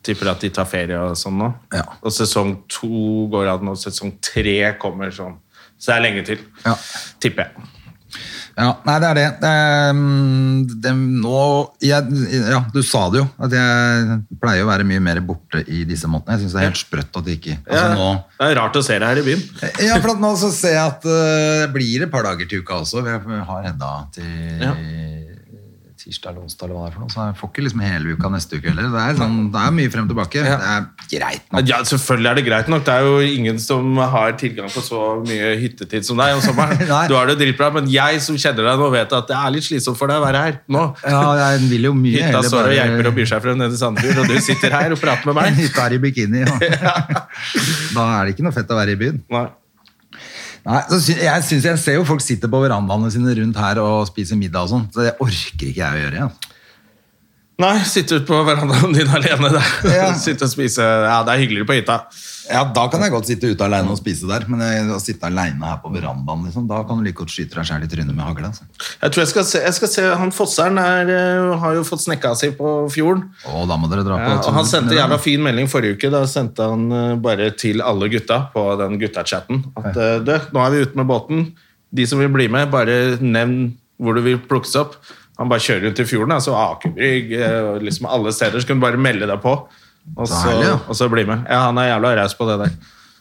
Tipper at de tar ferie og sånn nå. Ja. Og sesong to går av nå, sesong tre kommer sånn. Så det er lenge til. Ja. Tipper jeg. Ja, nei, det er det. Det er, mm, det nå jeg, Ja, du sa det jo. At jeg pleier å være mye mer borte i disse månedene. Jeg syns det er helt sprøtt at det ikke altså, nå, Det er rart å se det her i byen. Ja, for at nå så ser jeg at eh, det blir et par dager til uka også. Vi har enda til Ja. tirsdag eller onsdag eller hva det er for noe. Så jeg får ikke liksom hele uka neste uke heller. Det er, sånn, det er mye frem og tilbake. Det er greit nok. Ja, selvfølgelig er det greit nok. Det er jo ingen som har tilgang på så mye hyttetid som deg om sommeren. Nei. Du har det dritbra, men jeg som kjenner deg nå, vet at det er litt slitsomt for deg å være her nå. Ja, jeg vil jo mye Hytta heller står og bare- geiper og byr seg frem nede i Sandefjord, og du sitter her og prater med meg. Hytta er i bikini. Ja. Da er det ikke noe fett å være i byen. Nei. Nei, så sy jeg, synes jeg ser jo folk sitter på verandaene sine rundt her og spiser middag og sånn. Så det orker ikke jeg å gjøre. Ja. Nei, sitte ute på verandaen din alene der. Ja. sitte og spise. Ja, det er hyggeligere på hytta. ja, da kan jeg godt sitte ute alene og spise der, men jeg, å sitte alene her på verandaen, liksom, da kan du like godt skyte deg sjæl i trynet med hagle. Altså. Jeg tror jeg skal se, jeg skal se han Fosseren er, eh, har jo fått snekka si på fjorden. Og da må dere dra på Ja, og han tur. sendte jævla fin melding forrige uke. Da sendte han eh, bare til alle gutta på den guttachatten at eh, du, nå er vi ute med båten. De som vil bli med, bare nevn hvor du vil plukkes opp. Han bare kjører rundt i fjorden, altså Akerbrygg eh, og liksom alle steder. Så kan du bare melde deg på, og så, Deilig, ja. og så bli med. Ja, han er jævla raus på det der.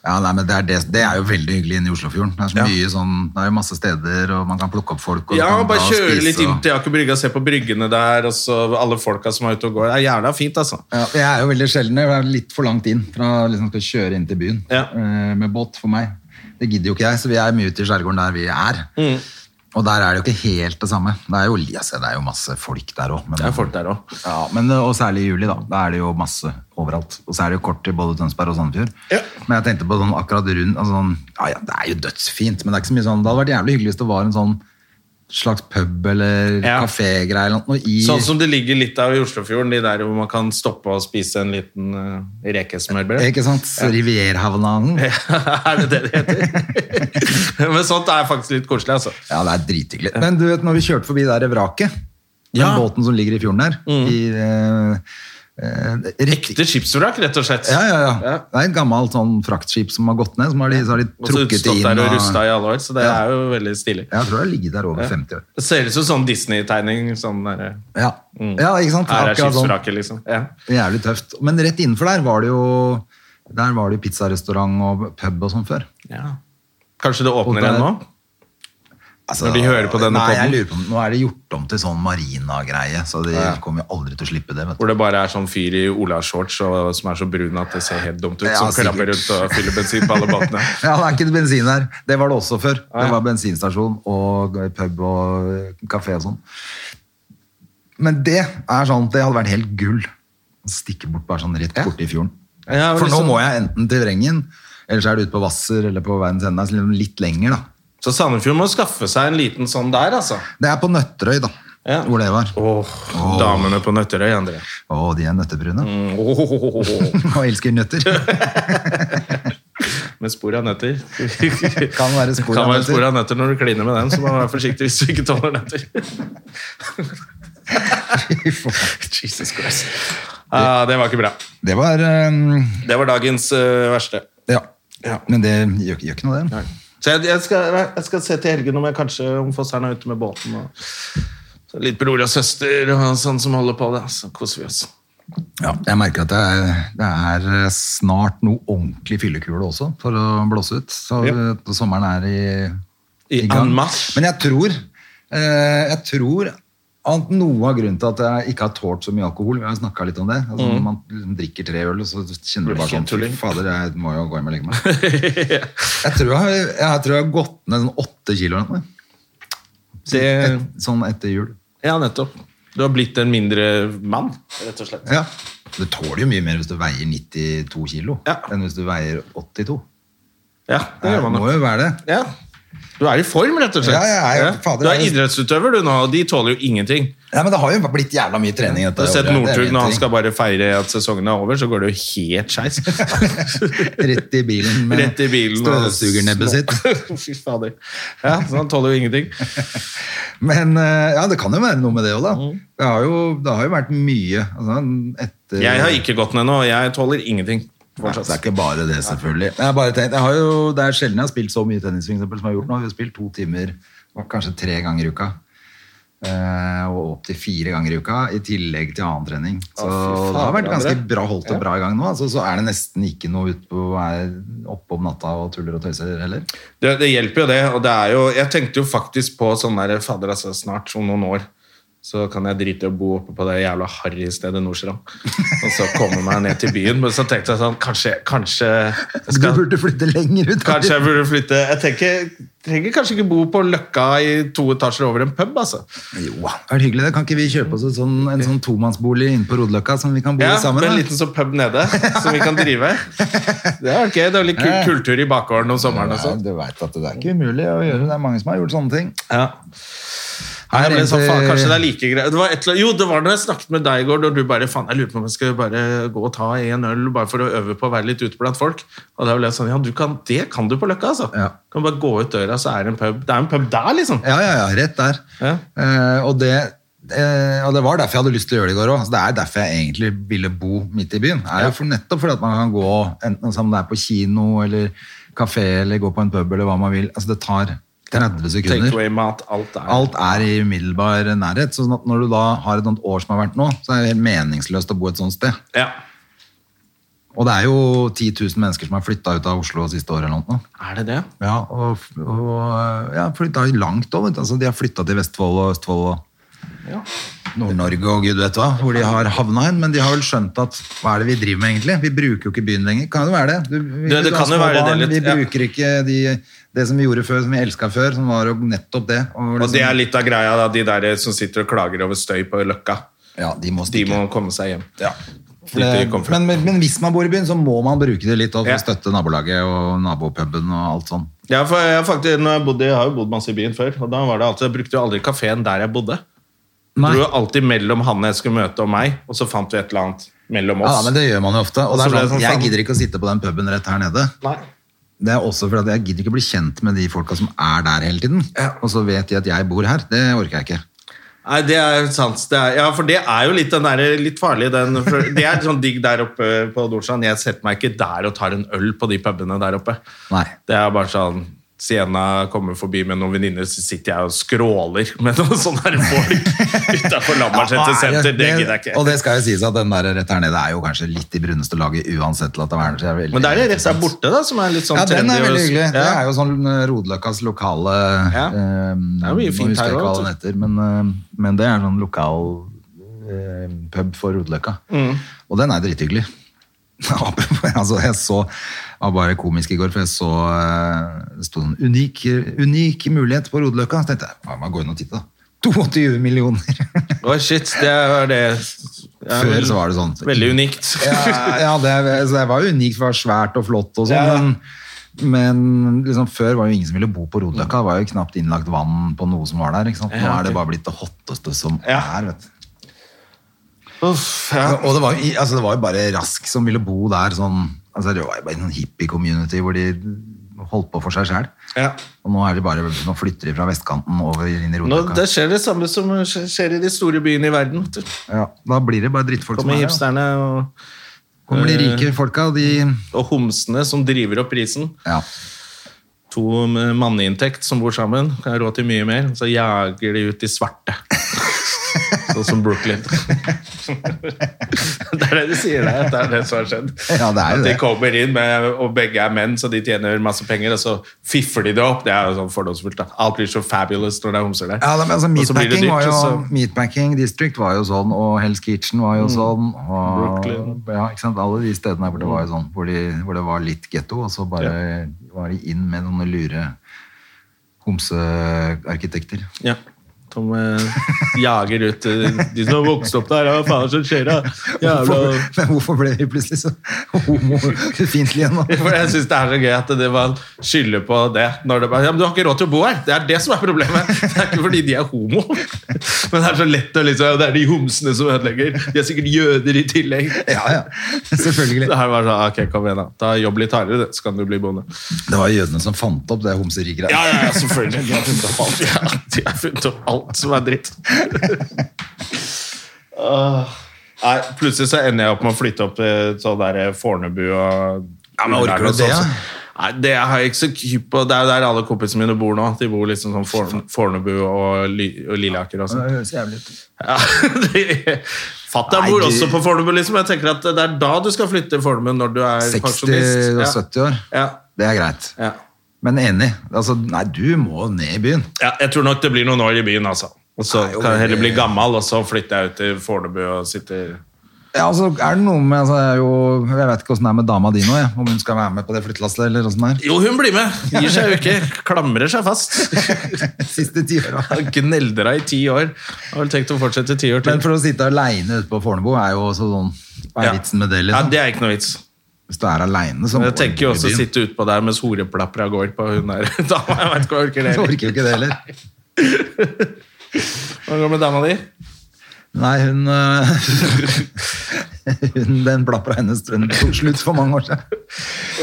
Ja, nei, men det er, det, det er jo veldig hyggelig inne i Oslofjorden. Det er så Ja. mye sånn, det er jo masse steder, og man kan plukke opp folk. Og du Ja, kan bare dra og kjøre spise, litt inn og- til Aker Brygge og se på bryggene der, og så alle folka som er ute og går. Det er jævla fint, altså. Ja, jeg er jo veldig sjelden. Jeg er litt for langt inn fra liksom skal kjøre inn til byen Ja. eh, med båt for meg. Det gidder jo ikke jeg, så vi er mye ute i skjærgården der vi er. Mm. Og der er det jo ikke helt det samme. Det er jo, altså, det er jo masse folk der òg. Det er folk der òg. Ja, men, eh, og særlig i juli, da. Da er det jo masse overalt. Og så er det jo kort til både Tønsberg og Sandefjord. Ja. Men jeg tenkte på sånn akkurat rundt altså sånn, ja, ja, Det er jo dødsfint, men det er ikke så mye sånn Det hadde vært jævlig hyggelig hvis det var en sånn slags pub eller Ja. kafégreie eller noe i Sånn som det ligger litt av i Oslofjorden, de der hvor man kan stoppe og spise en liten uh, rekesmørbrød. Ikke sant? Rivierhavnanen. er det det det heter? Men sånt er faktisk litt koselig, altså. Ja, det er drithyggelig. Men du vet, når vi kjørte forbi der vraket, Ja. Mm. den båten som ligger i fjorden der, i eh, eh, riktig- Ekte skipsvrak, rett og slett. Ja, ja, ja, Ja. Det er et gammelt sånn fraktskip som har gått ned, som har de, så har de Og så trukket det stått inn. der og og- rusta i alle år, så det Ja. er jo veldig stilig. Ja, Jeg tror det har ligget der over Ja. 50 år. Det ser ut som sånn Disney-tegning. Sånn der, Ja, Mm. ja ikke sant? her er Akkurat sånn. skipsvraket, liksom. Ja. Jævlig tøft. Men rett innenfor der var det jo der var det jo pizzarestaurant og pub og sånn før. Ja. Kanskje det åpner Og der- igjen nå? Altså, Når de hører på denne nei, jeg podden. lurer på, om- Nå er det gjort om til sånn marina-greie, så de kommer jo aldri til å slippe det. vet du. Hvor det bare er sånn fyr i olashorts og- som er så brun at det ser helt dumt ut. Ja, som sikkert. klapper rundt og fyller bensin på alle båtene. Ja, det er ikke bensin her. Det var det også før. Det var bensinstasjon og pub og kafé og sånn. Men det er sånn, det hadde vært helt gull. Å Stikke bort bare sånn rett borti fjorden. Ja, For nå liksom- må jeg enten til Vrengen, eller så er det ute på Hvasser eller på verdens ende. så liksom Litt lenger, da. Så Sandefjord må skaffe seg en liten sånn der, altså. Det er på Nøtterøy, da. Ja. Hvor det var. Å, Åh, Damene på Nøtterøy, André. de er nøttebrune. Mm. Åh, Og elsker nøtter. Med spor av nøtter. Kan være spor Kan av nøtter. være spor av nøtter når du kliner med dem, så må du være forsiktig hvis du ikke tåler nøtter. Jesus Christ. Ah, det var ikke bra. Det var eh, Det var dagens eh, verste. ja. Ja. Men det gjør, gjør ikke noe, det. Så jeg, jeg, skal, jeg skal se til helgen om jeg kanskje om Fosseren er ute med båten. Og, så litt bror og søster og sånn som holder på det. Så koser vi oss. Ja, jeg merker at det er, det er snart noe ordentlig fyllekule også, for å blåse ut. Så Ja. eh, sommeren er i, I en masse. Men jeg tror, eh, jeg tror at noe av grunnen til at jeg ikke har tålt så mye alkohol, vi har jo snakket litt om det, altså, når man liksom drikker tre øl, og så kjenner du bare sånn, fy Mm. Tulling. fader, jeg må jo gå hjem og legge meg. jeg, tror jeg, har- jeg tror jeg har gått ned sånn åtte kilo, eller noe. Det- Et- sånn etter jul. Ja, nettopp. Du har blitt en mindre mann, rett og slett. Ja. Du tåler jo mye mer hvis du veier 92 kilo, Ja. enn hvis du veier 82 Ja, det gjør man må nok. jo være det. Ja. Du er i form, rett og slett. Ja, jeg er jo- fader, Du er jeg er- idrettsutøver, du nå, og de tåler jo ingenting. Nei, men det har jo blitt jævla mye trening. Dette, Du har sett året, det er Northug en når han ting. skal bare feire at sesongen er over, så går det jo helt skeis. Rett i bilen med Rett i bilen. og- støvsugernebbet sitt. Fy fader. Ja, så han tåler jo ingenting. Men eh, ja, det kan jo være noe med det òg, da. Mm. Det har, jo, det har jo vært mye altså, etter Jeg har ikke gått ned nå, og jeg tåler ingenting. Nei, så Fortsatt. det er ikke bare det, selvfølgelig. Jeg har bare tenkt, jeg har jo, det er sjelden jeg har spilt så mye tennis for eksempel, som jeg har gjort nå. Vi har spilt to timer, kanskje tre ganger i uka. Eh, og opp til fire ganger i uka, i tillegg til annen trening. Så fy faen, det har vært ganske André. bra, holdt det bra i gang nå. Altså, så er det nesten ikke noe ut på, er oppe om natta og tuller og tøyser heller. Det, det hjelper jo det, og det er jo Jeg tenkte jo faktisk på sånn der Fader, altså, snart, om noen år, så kan jeg drite i å bo oppe på det jævla harry stedet Nordstrand. Og så komme meg ned til byen. Men så tenkte jeg sånn Kanskje Kanskje jeg Du skal, burde flytte lenger ut. Kanskje jeg burde flytte Jeg tenker, trenger kanskje ikke bo på Løkka i to etasjer over en pub, altså. Jo, det hadde vært hyggelig det. Kan ikke vi kjøpe oss en sånn, en sånn tomannsbolig inne på Rodeløkka som vi kan bo Ja, i sammen? med en da? liten sånn pub nede som vi kan drive. Det er gøy. Det er litt kul kultur i bakgården om sommeren Nei, også. du vet at det er ikke umulig å gjøre. Det er mange som har gjort sånne ting. Ja. Nei, jeg ble sånn, faen, kanskje det er like greit det var et, eller annet- Jo, det var når jeg snakket med deg i går, da du bare faen, jeg lurer på om jeg skal bare gå og ta en øl bare for å øve på å være litt ute blant folk. Og da ble jeg sånn Ja, du kan, det kan du på Løkka, altså. Ja. Du kan bare gå ut døra, så er det en pub. Det er en pub der, liksom. Ja, ja, ja, rett der. Ja. Eh, og, det, eh, og det var derfor jeg hadde lyst til å gjøre det i går òg. Det er derfor jeg egentlig ville bo midt i byen. Er jo for nettopp fordi at man kan gå enten som det er på kino eller kafé eller gå på en pub eller hva man vil. Altså Det tar 30 sekunder. Takeaway-mat, alt er Alt er i umiddelbar nærhet. Så sånn at når du da har et sånt år som har vært nå, så er det helt meningsløst å bo et sånt sted. Ja. Og det er jo 10 000 mennesker som har flytta ut av Oslo siste året eller noe. nå. Er det det? Ja, og, og ja, flytta langt òg. Altså, de har flytta til Vestfold og Østfold og Nord-Norge og gud vet hva, hvor de har havna hen. Men de har vel skjønt at hva er det vi driver med egentlig? Vi bruker jo ikke byen lenger. Kan jo være det. Du, vi, Det- det du kan har jo små være det barn, litt, Vi ja. bruker ikke de, det som vi gjorde før, som vi elska før, som var jo nettopp det. sånn- liksom- Og det er litt av greia, da, de der som sitter og klager over støy på Løkka. Ja, de må De stikke. må komme seg hjem. Ja. For det, Dit de kom fra. men, men, men hvis man bor i byen, så må man bruke det litt og for Ja. å støtte nabolaget og nabopuben og alt sånn. Ja, for jeg, har faktisk, når jeg, bodde, jeg har jo bodd masse i byen før, og da var det alltid, jeg brukte jo aldri kafeen der jeg bodde. Nei. Dro jo alltid mellom han jeg skulle møte og meg, og så fant vi et eller annet mellom Ja, oss. men det gjør man jo ofte. Og Og det så er ble det sånn, sånn jeg sammen. gidder ikke å sitte på den puben rett her nede. Nei. Det er også fordi at jeg gidder ikke bli kjent med de folka som er der hele tiden. Og så vet de at jeg bor her. Det orker jeg ikke. Nei, det er sant. Det er, ja, for det er jo litt, den der, litt farlig. Den, for det er sånn digg der oppe på Nordstrand. Jeg setter meg ikke der og tar en øl på de pubene der oppe. Nei. Det er bare sånn Sienna kommer forbi med noen venninner, så sitter jeg og skråler med noen sånne her folk utafor Lambertseter senter. Det gidder jeg Og ikke. det skal jo sies at den der rett her nede er jo kanskje litt i bruneste laget uansett. til at det verner seg veldig Men det er det rett der borte, da, som er litt sånn Ja, den er trendy og- veldig hyggelig. Det Ja. er jo sånn eh, Rodeløkkas lokale Ja. eh, er mye fint nå husker jeg her ikke hva også, altså. den heter, men, eh, men det er sånn lokal eh, pub for Rodeløkka. Mm. Og den er drithyggelig. altså, jeg så det var bare komisk i går, for jeg så eh, det sto en unik, unik mulighet på Rodeløkka. Så tenkte jeg, faen, jeg går inn og titter, da. 22 millioner! Oi, shit, det er det ja, Før så var det sånn. Veldig unikt. ja, ja det, så det var jo unikt, for det var svært og flott og sånn. Ja, ja. Men, men liksom, før var jo ingen som ville bo på Rodeløkka. Det var jo knapt innlagt vann på noe som var der. Ikke sant? Nå Ja, er det ok. bare blitt det hotteste som Ja. er. Vet. du. Uff, ja. Og det var, jo- altså, det var jo bare Rask som ville bo der. Sånn, altså, det var jo bare en sånn hippie-community hvor de holdt på for seg sjæl. Ja. Og nå, er de bare, nå flytter de fra vestkanten over inn i Nå, Rodeløkka. det skjer det samme som skjer i de store byene i verden. vet du. Ja, da blir det bare drittfolk som Kommer er her. da. hipsterne og, Kommer de rike folka, og de og homsene som driver opp prisen. ja. To med manneinntekt som bor sammen, har råd til mye mer. Så jager de ut de svarte. Sånn som Brooklyn. Det er det de sier der, at det er det som har skjedd. Ja, det er jo at de det. kommer inn, med, og begge er menn, så de tjener masse penger, og så fiffer de det opp. Det er jo sånn fordomsfullt. da. Alt blir så fabulous når det er homser der. Ja, da, men altså, Og så blir det meatpacking, var jo, dyrt, og så- Mm. meatpacking District var jo sånn, og Hell's Kitchen var jo sånn. Og, Brooklyn. Mm. Ja, ikke sant? Alle de stedene her hvor det var jo sånn, hvor, de, hvor det var litt getto, og så bare var de inn med noen lure homsearkitekter. Ja. Som eh, jager ut eh, de som har vokst opp der. Hva faen er det som skjer, da? Hvorfor, Jævla men hvorfor ble vi plutselig så homofiendtlige igjen nå? For jeg synes det er så gøy at det man skylder på det. Når det bare, ja, men du har ikke råd til å bo her! Det er det som er problemet. Det er ikke fordi de er homo. Men det er så lett å liksom Det er de homsene som ødelegger. De er sikkert jøder i tillegg. Ja, ja, selvfølgelig. Det her var sånn, ok, kom igjen da. Ta jobb litt hardere, det, så kan du bli bonde. Det var jødene som fant opp det homserigreiet. Ja, ja, ja, selvfølgelig. De har funnet opp alt. Ja, de har funnet opp alt som er dritt. Åh. Ah. Nei, plutselig så ender jeg opp med å flytte opp eh, sånn der eh, Fornebu og Ja, men orker du Ullern og det, sånn. ja? Nei, det har jeg ikke så ky på. Det er jo der alle kompisene mine bor nå. De bor liksom sånn Forne- Fornebu og, Ly og Lilleaker og sånn. Det høres jævlig ut. Ja, de- Fatter'n Nei, bor du- også på Fornebu, liksom. Jeg tenker at det er da du skal flytte til Fornebu, når du er 60 og pensjonist. 70 år, Ja. det er greit. Ja. Ja. Men enig. Altså, nei, du må ned i byen. Ja, jeg tror nok det blir noen år i byen, altså. Og så Nei, jo, kan jeg heller bli det- gammel, og så flytter jeg ut til Fornebu og sitter Ja, altså, er det noe med altså, jeg, er jo, jeg vet ikke åssen det er med dama di nå, jeg, om hun skal være med på det flyttelasset eller åssen det Jo, hun blir med! Gir seg jo ikke. Klamrer seg fast. er. Siste ti åra. Gneldra i ti år. Har vel tenkt å fortsette ti år Men til. for å sitte aleine ute på Fornebu er jo også sånn Hva er Ja. vitsen med det, Ja, liksom? det er ikke noe vits. Hvis du er aleine, så Men må jeg tenker du jo i også å byen. sitte utpå der mens horeplapra går på hun der dama. Jeg vet ikke, jeg orker det. Du orker jo ikke det heller. Hva går med dama di? Nei, hun, øh, hun Den plapra hennes hun tok slutt for mange år siden.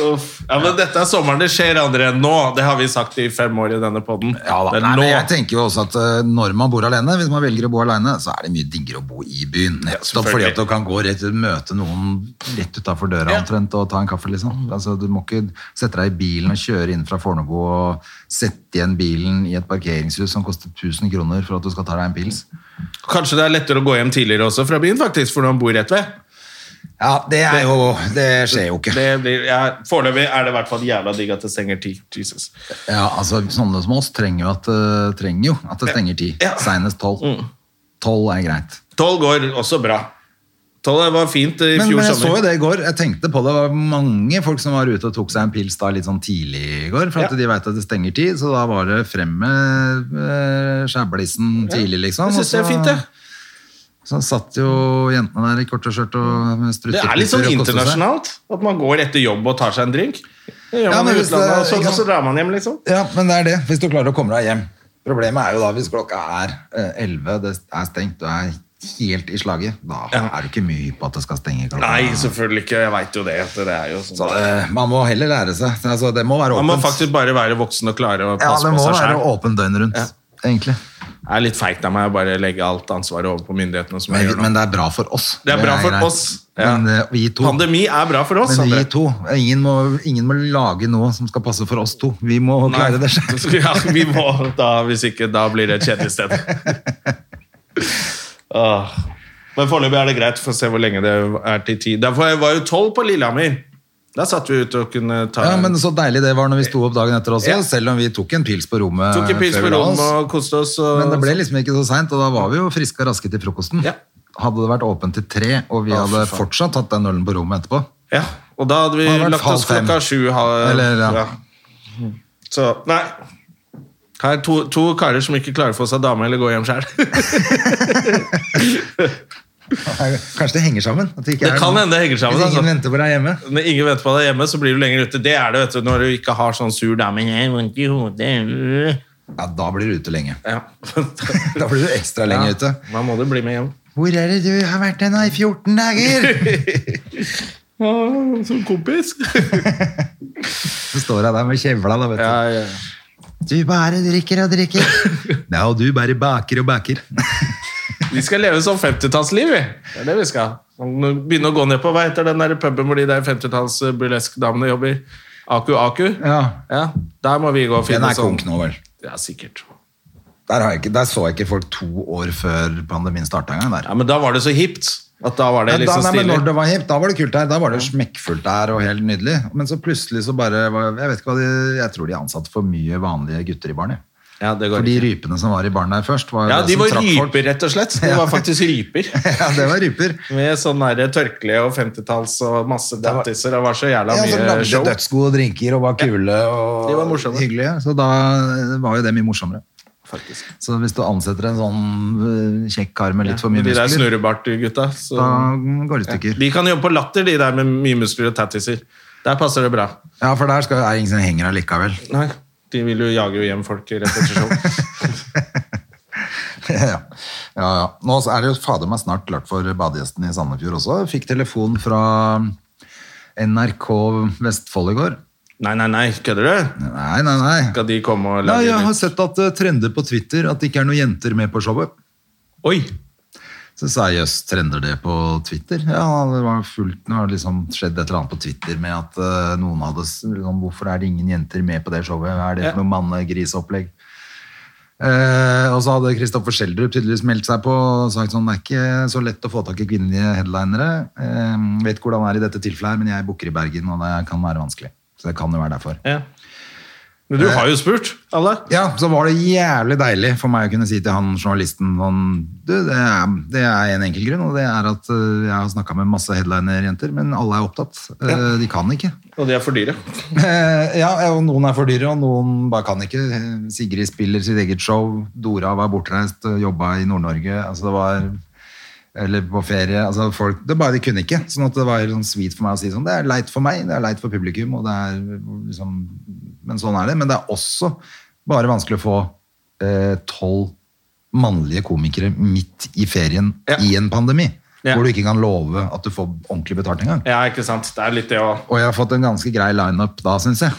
Uff. Ja, men dette er sommeren det skjer, André. Nå! Det har vi sagt i fem år i denne poden. Nei, men jeg tenker jo også at øh, når man bor alene, hvis man velger å bo alene, så er det mye diggere å bo i byen. Nettopp fordi selvfølgelig. at du kan gå rett møte noen rett utafor døra Ja. omtrent og ta en kaffe, liksom. Altså, du må ikke sette deg i bilen og kjøre inn fra Fornebu og sette igjen bilen i et parkeringshus som koster 1000 kroner for at du skal ta deg en pils. Kanskje det er lettere å gå hjem tidligere også fra byen, faktisk, for når man bor rett ved. Ja, det er jo Det skjer jo ikke. Det blir, ja, Foreløpig er det i hvert fall jævla digg at det stenger ti. Jesus. Ja, altså, sånne som oss trenger jo at, øh, trenger jo at det stenger ti. Ja. Mm. Seinest tolv. Tolv er greit. Tolv går også bra. Tolv var fint i Men, fjor men jeg så jo sommer. det i går. Jeg tenkte på det. Det var mange folk som var ute og tok seg en pils da litt sånn tidlig i går, for at Ja. de veit at det stenger tid. Så da var det frem med eh, skjæblissen tidlig, liksom. Jeg synes det er og så- fint, det. Så satt jo jentene der i korte skjørt og med Det er litt sånn og koste seg. internasjonalt. At man går etter jobb og tar seg en drink. Det gjør Ja, man men i hvis det- utlandet, og så, ikke og så sant? drar man hjem, liksom. Ja, men det er det. Hvis du klarer å komme deg hjem. Problemet er jo da hvis klokka er eh, 11, det er stengt, du er helt i slaget, da Ja. er du ikke mye hypp på at det skal stenge klokka. Nei, selvfølgelig ikke. Jeg veit jo det. at det er jo sånn. Så det, man må heller lære seg. Altså, det må være Man må åpent. faktisk bare være voksen og klare å ja, passe det må på seg være sjøl. åpent døgnet rundt, egentlig. Det er litt feigt av meg å bare legge alt ansvaret over på myndighetene. som jeg Men, gjør nå. men det er bra for oss. Det er bra for greit. oss, ja. Men eh, vi to. Pandemi er bra for oss. men vi André. to, ingen må, ingen må lage noe som skal passe for oss to. Vi må klare det selv. Ja, vi må da, hvis ikke, da blir det et kjedelig sted. Åh. Men foreløpig er det greit, for å se hvor lenge det er til tid. Derfor jeg var jo tolv på Lillehammer. Da satt vi ute og kunne ta Ja, men Så deilig det var når vi sto opp dagen etter også, Ja. selv om vi tok en pils på rommet. tok en pils før vi på la rommet oss. og koste oss. eh, Og, Men det ble liksom ikke så seint, og da var vi jo friske og raske til frokosten. Ja. Hadde det vært åpent til tre, og vi Å, fy hadde faen. fortsatt tatt den ølen på rommet etterpå ja, og da hadde vi Det hadde vært lagt halv oss fem. klokka sju. ha- Eller, ja. Så nei. Her er to, to karer som ikke klarer å få seg dame eller gå hjem sjøl. Kanskje det henger sammen? At det ikke Det er kan noen- hende det henger sammen, Hvis ingen altså. venter på deg hjemme. Når ingen venter på deg hjemme, så blir du lenger ute. Det er det, vet du, når du ikke har sånn sur dame. Jeg har vondt i hodet. Ja, da blir du ute lenge. Ja. Da blir du ekstra lenge ute. Da må du bli med hjem. Hvor er det du har vært nå i 14 dager? Ja, som kompis. Så står jeg der med kjevla, da, vet du. Ja, ja. Du bare drikker og drikker. Nei, og du bare baker og baker. Vi skal leve sånn 50-tallsliv, vi. Det er det vi skal. Sånn, Begynne å gå ned på vei etter den der puben hvor de der 50-talls burlesk-damene jobber. Aku Aku. Ja. Ja, Der må vi gå og Den finne er sånn. konk nå, vel. Ja, sikkert. Der, har jeg ikke, der så jeg ikke folk to år før pandemien starta engang. der. Ja, Men da var det så hipt. At da var det Men da, liksom nei, men stilig. når det var hipt, da var det kult her. Da var det smekkfullt der og helt nydelig. Men så plutselig så bare var- Jeg vet ikke hva de, jeg tror de ansatte for mye vanlige gutter i baren. jeg. Ja, det For går de ikke. rypene som var i baren der først, var jo Ja, det de som var trakk folk. ryper, rett og slett. De var faktisk ryper. Ja, det var ryper. Med sånn der tørkle og 50-talls og masse dattiser. Det var altså, så jævla Ja, som mye lagde show. dødsgode drinker og var kule og De var morsomme. hyggelige. Så da var jo det mye morsommere. faktisk. Så hvis du ansetter en sånn øh, kjekk kar med litt for De mye der muskler, snurrebart-gutta. så- da går det i stykker. De kan jobbe på latter, de der med mye muskler og tattiser. Der passer det bra. Ja, for der skal, er ingen som henger allikevel. Nei, De vil jo jage jo hjem folk rett etter show. ja, ja, ja. Nå så er det jo fader meg snart klart for badegjesten i Sandefjord også. Jeg Fikk telefon fra NRK Vestfold i går. Nei, nei, nei, kødder du? Nei, nei, nei. Skal de komme og Nei, lage jeg litt- har sett at det trender på Twitter at det ikke er noen jenter med på showet. Oi! Så sa jeg, jøss, trender det på Twitter? Ja, det var fullt, det var liksom skjedd et eller annet på Twitter med at eh, noen hadde, s- liksom, hvorfor er det ingen jenter med på det showet? Hva er det for noe mannegrisopplegg? Eh, og så hadde Kristoffer Schjelderup tydeligvis meldt seg på og sagt sånn, det er ikke så lett å få tak i kvinnelige headlinere. Eh, vet ikke hvordan det er i dette tilfellet her, men jeg booker i Bergen, og det kan være vanskelig. Så det kan jo være derfor. Ja. Men du har jo spurt alle. Ja, så var det jævlig deilig for meg å kunne si til han journalisten sånn, du, det er, det er en enkel grunn, og det er at øh, jeg har snakka med masse headliner-jenter, men alle er opptatt. Øh, De kan ikke. Og de er for dyre. Eh, ja, og noen er for dyre, og noen bare kan ikke. Eh, Sigrid spiller sitt eget show, Dora var bortreist, øh, jobba i Nord-Norge. Altså det var eller på ferie, altså folk, det bare de kunne ikke, sånn at det var sånn sweet for meg å si sånn, det er leit for meg, det er leit for publikum og det er liksom, men sånn er det, men det er også bare vanskelig å få eh, tolv mannlige komikere midt i ferien Ja. i en pandemi, Ja. hvor du ikke kan love at du får ordentlig betalt engang Ja, ikke sant. Det er litt det òg. og jeg har fått en ganske grei lineup da, syns jeg.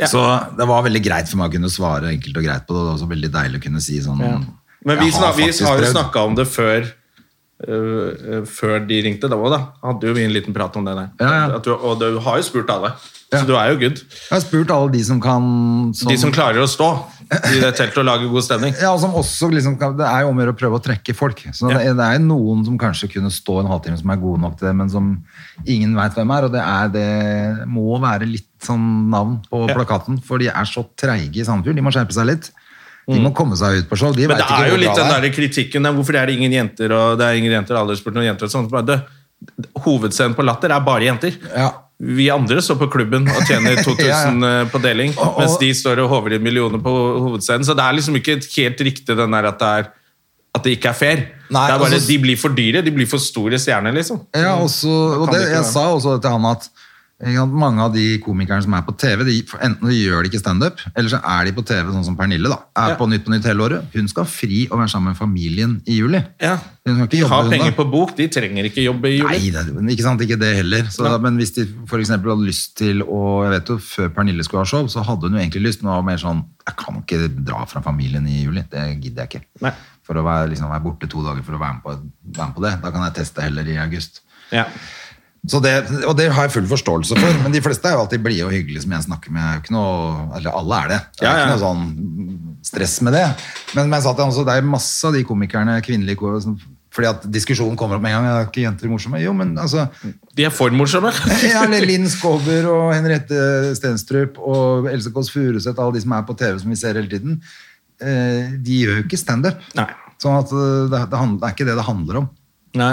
Ja. Så det var veldig greit for meg å kunne svare enkelt og greit på det. og Det var også veldig deilig å kunne si sånn Men vi, jeg snak, vi faktisk har jo prøvd. snakka om det før, øh, øh, før de ringte. Da, også, da hadde jo vi en liten prat om det der. Ja, ja. At du, og du har jo spurt alle, Ja. så du er jo good. Jeg har spurt alle de som kan som, De som klarer å stå i det teltet og lage god stemning. ja, og som også liksom, kan- Det er jo om å gjøre å prøve å trekke folk. Så Ja. det, er- det er noen som kanskje kunne stå en halvtime som er gode nok til det, men som ingen veit hvem er. Og det, er, det må være litt sånn navn på Ja. plakaten, for de er så treige i Sandefjord. De må skjerpe seg litt. De må komme seg ut på show. De Mm. Men vet det ikke er jo hvor litt bra det den er. der kritikken der, hvorfor er det ingen jenter og det er ingen jenter, alle har spurt noen jenter og sånt. Bare, det, hovedscenen på Latter er bare jenter. Ja. Vi andre står på klubben og tjener 2000 eh, på deling, Og- og- mens de står og håver inn millioner på hovedscenen. Så det er liksom ikke helt riktig den der at det er, at at det ikke er fair. Nei, det er bare, altså- De blir for dyre. De blir for store stjerner, liksom. Ja, også, og Kan det, det jeg ikke være. sa også til han at ikke sant, mange av de komikerne som er på TV, de, enten de gjør de ikke standup, eller så er de på TV, sånn som Pernille. da, er Ja. på Nytt på Nytt hele året. Hun skal ha fri og være sammen med familien i juli. Ja. Hun skal ikke De jobbe, har hun, penger da. på bok, de trenger ikke jobbe i juli. Nei, det, er- ikke sant, ikke det heller. Så, Nei. men hvis de for eksempel hadde lyst til å jeg vet jo, Før Pernille skulle ha show, så hadde hun jo egentlig lyst, men det var mer sånn Jeg kan ikke dra fra familien i juli. Det gidder jeg ikke. Nei. For å være, liksom, være borte to dager for å være med, på, være med på det. Da kan jeg teste heller i august. Ja. Så det, og det har jeg full forståelse for, men de fleste er jo alltid blide og hyggelige som jeg snakker med. Det er jo Ikke noe, eller alle er det. Det er Ja, ja. ikke noe sånn stress med det. Men, men jeg sa til han også, det er masse av de komikerne, kvinnelige ko- som- fordi at diskusjonen kommer opp med en gang. Er ikke jenter morsomme? Jo, men altså De er for morsomme. ja, eller Linn Skåber og Henriette Stenstrup og Else Kåss Furuseth, alle de som er på TV som vi ser hele tiden, eh, de gjør jo ikke standup. Nei. Sånn at eh, det, det, handler, det er ikke det det handler om. Nei.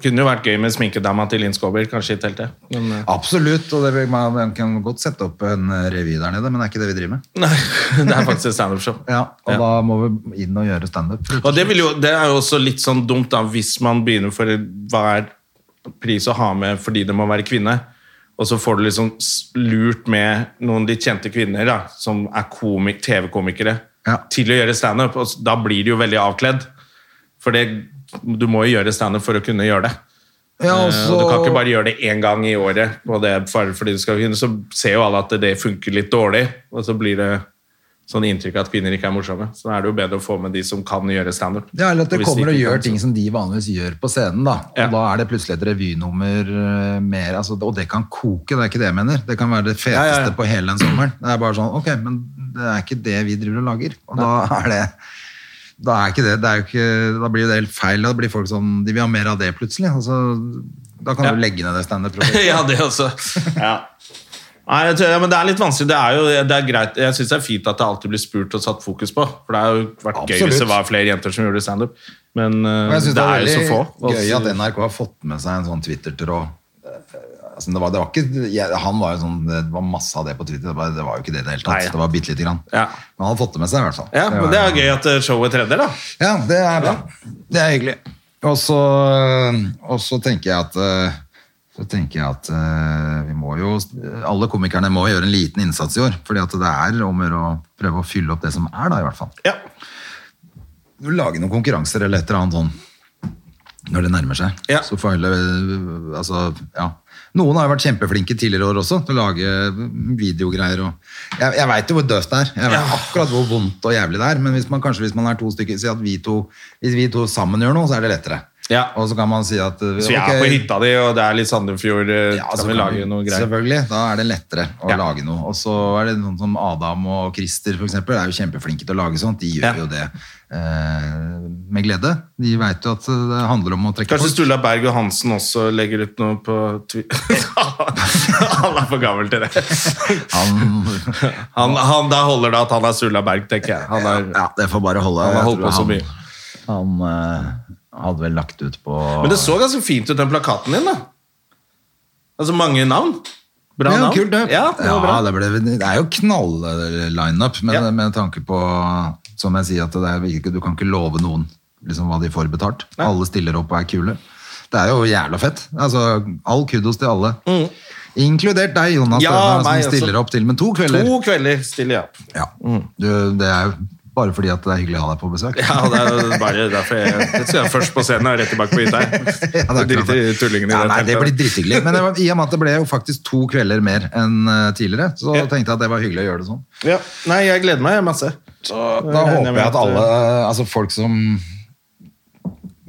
Kunne jo vært gøy med sminkedama til Linn Skåber, kanskje i teltet. Men, eh, Absolutt, og det, vil- man man kan godt sette opp en eh, revy der nede, men det er ikke det vi driver med. nei, det er faktisk et standup-show. Ja, og Ja. da må vi inn og gjøre standup. rett Og det, slett. vil jo, det er jo også litt sånn dumt da, hvis man begynner for hver pris å ha med fordi det må være kvinne, og så får du liksom s- lurt med noen litt kjente kvinner da, som er komi- TV-komikere Ja. til å gjøre standup, og s- da blir de jo veldig avkledd. For det, du må jo gjøre standup for å kunne gjøre det. ja, altså, og Eh, så, Og du kan ikke bare gjøre det én gang i året, og det er bare fordi du skal kunne, så ser jo alle at det funker litt dårlig, og så blir det sånn inntrykk at kvinner ikke er morsomme. Så da er det jo bedre å få med de som kan gjøre standup. ja, eller at det hvis de kommer og ikke gjør kan, så- ting som de vanligvis gjør på scenen. Da Ja. Og da er det plutselig et revynummer eh, mer, altså, og det kan koke, det er ikke det jeg mener. Det kan være det feteste Ja, ja, ja. på hele den sommeren. Det er bare sånn, ok, men det er ikke det vi driver og lager. Og da er det da er ikke det, det er jo ikke, da blir jo det helt feil. Da blir folk sånn, de vil ha mer av det plutselig. Altså, da kan Ja. du legge ned det standup-prosjektet. ja, det også. Ja. Nei, jeg tror, ja, men det er litt vanskelig. Det er jo det er greit. Jeg syns det er fint at det alltid blir spurt og satt fokus på. For det har jo vært gøy Absolutt. hvis det var flere jenter som gjorde standup. Men Og eh, jeg synes det, det, er jo så er få. veldig gøy at Altså, NRK har fått med seg en sånn Twitter-tråd. Eh, Altså, det var, det var ikke, jeg, han var jo sånn, det var masse av det på Twitter, det var, det var jo ikke det i det hele tatt. Nei. Det var bitte lite grann. Ja. Men han har fått det med seg i hvert fall. ja, var- men det er gøy at eh, showet tredjer, da. Ja, det er bra. Det er hyggelig. Og så, og så tenker jeg at eh, så tenker jeg at eh, vi må jo, alle komikerne må gjøre en liten innsats i år, fordi at det er om å gjøre å prøve å fylle opp det som er da i hvert fall. Ja. Du lager noen konkurranser eller et eller annet sånn, når det nærmer seg. Ja. Så får alle, øh, altså, ja. Noen har jo vært kjempeflinke tidligere år også, til å lage videogreier. Og, jeg, jeg vet jo hvor døvt det er. Jeg vet akkurat hvor vondt og jævlig det er. Men hvis man, kanskje hvis man er to stykker, si at vi to, hvis vi to sammen gjør noe, så er det lettere. Ja. Og så kan man si at... øh, Så jeg ok, er på hytta di, og det er litt Sandefjord. eh, ja, så kan vi kan lage vi- noe greier? Selvfølgelig, da er det lettere å Ja. lage noe. Og så er det noen som Adam og Christer for eksempel, er jo kjempeflinke til å lage sånt. De gjør Ja. jo det eh, med glede. De vet jo at eh, det handler om å trekke Kanskje folk. Sturla Berg og Hansen også legger ut noe på Twitter. Han er for gammel til det. Han, Han, han, da holder det at han er Sturla Berg, tenker jeg. Han er, ja, det får bare holde. Han har Jeg holdt tror på så mye. Han, eh, hadde vel lagt ut på... Men det så ganske fint ut, den plakaten din, da. Altså mange navn. Bra ja, navn. kult, det. Ja, det var bra. Ja, det, ble, det er jo knall-lineup, men Ja. med tanke på Som jeg sier, at det er, ikke- du kan ikke love noen liksom, hva de får betalt. Nei. Alle stiller opp og er kule. Det er jo jævla fett. Altså, all kudos til alle. Inkludert deg, Jonas, Mm. Ja, Støvner, som meg også. stiller opp til med to kvelder. To kvelder stiller jeg opp. Ja. Du, det er jo bare fordi at det er hyggelig å ha deg på besøk. Ja, det er jo bare derfor jeg, jeg skal være først på scenen og rett tilbake på hytta. Ja, jeg. det er Jeg klart driter i tullingene i ja, det Nei, det teltet. blir drithyggelig. Men det var, i og med at det ble jo faktisk to kvelder mer enn eh, tidligere, så Ja. tenkte jeg at det var hyggelig å gjøre det sånn. Ja. Nei, jeg gleder meg masse. Da regner jeg håper med jeg at at, eh, alle, altså folk som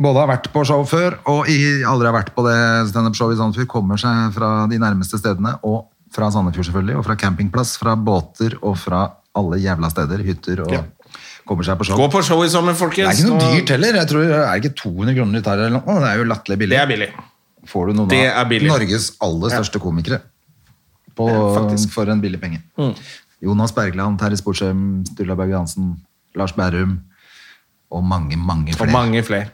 både har vært på show før, og i- aldri har vært på det stand-up-showet i Sandefjord, kommer seg fra de nærmeste stedene, og fra Sandefjord selvfølgelig, og fra campingplass, fra båter, og fra alle jævla steder, hytter, og Ja. kommer seg på show. Gå på show i sommer, det er folkens. ikke noe Nå- dyrt heller, jeg tror, er det ikke 200 kroner litt her eller noe? Det er jo lattelig billig. Det er billig. Får du noen Det er av billig. Norges aller største komikere på, Ja, faktisk. for en billig penge. Mm. Jonas Bergland, Terje Sporsheim, Sturla Berge Hansen, Lars Berrum og mange, mange Og flere. mange flere.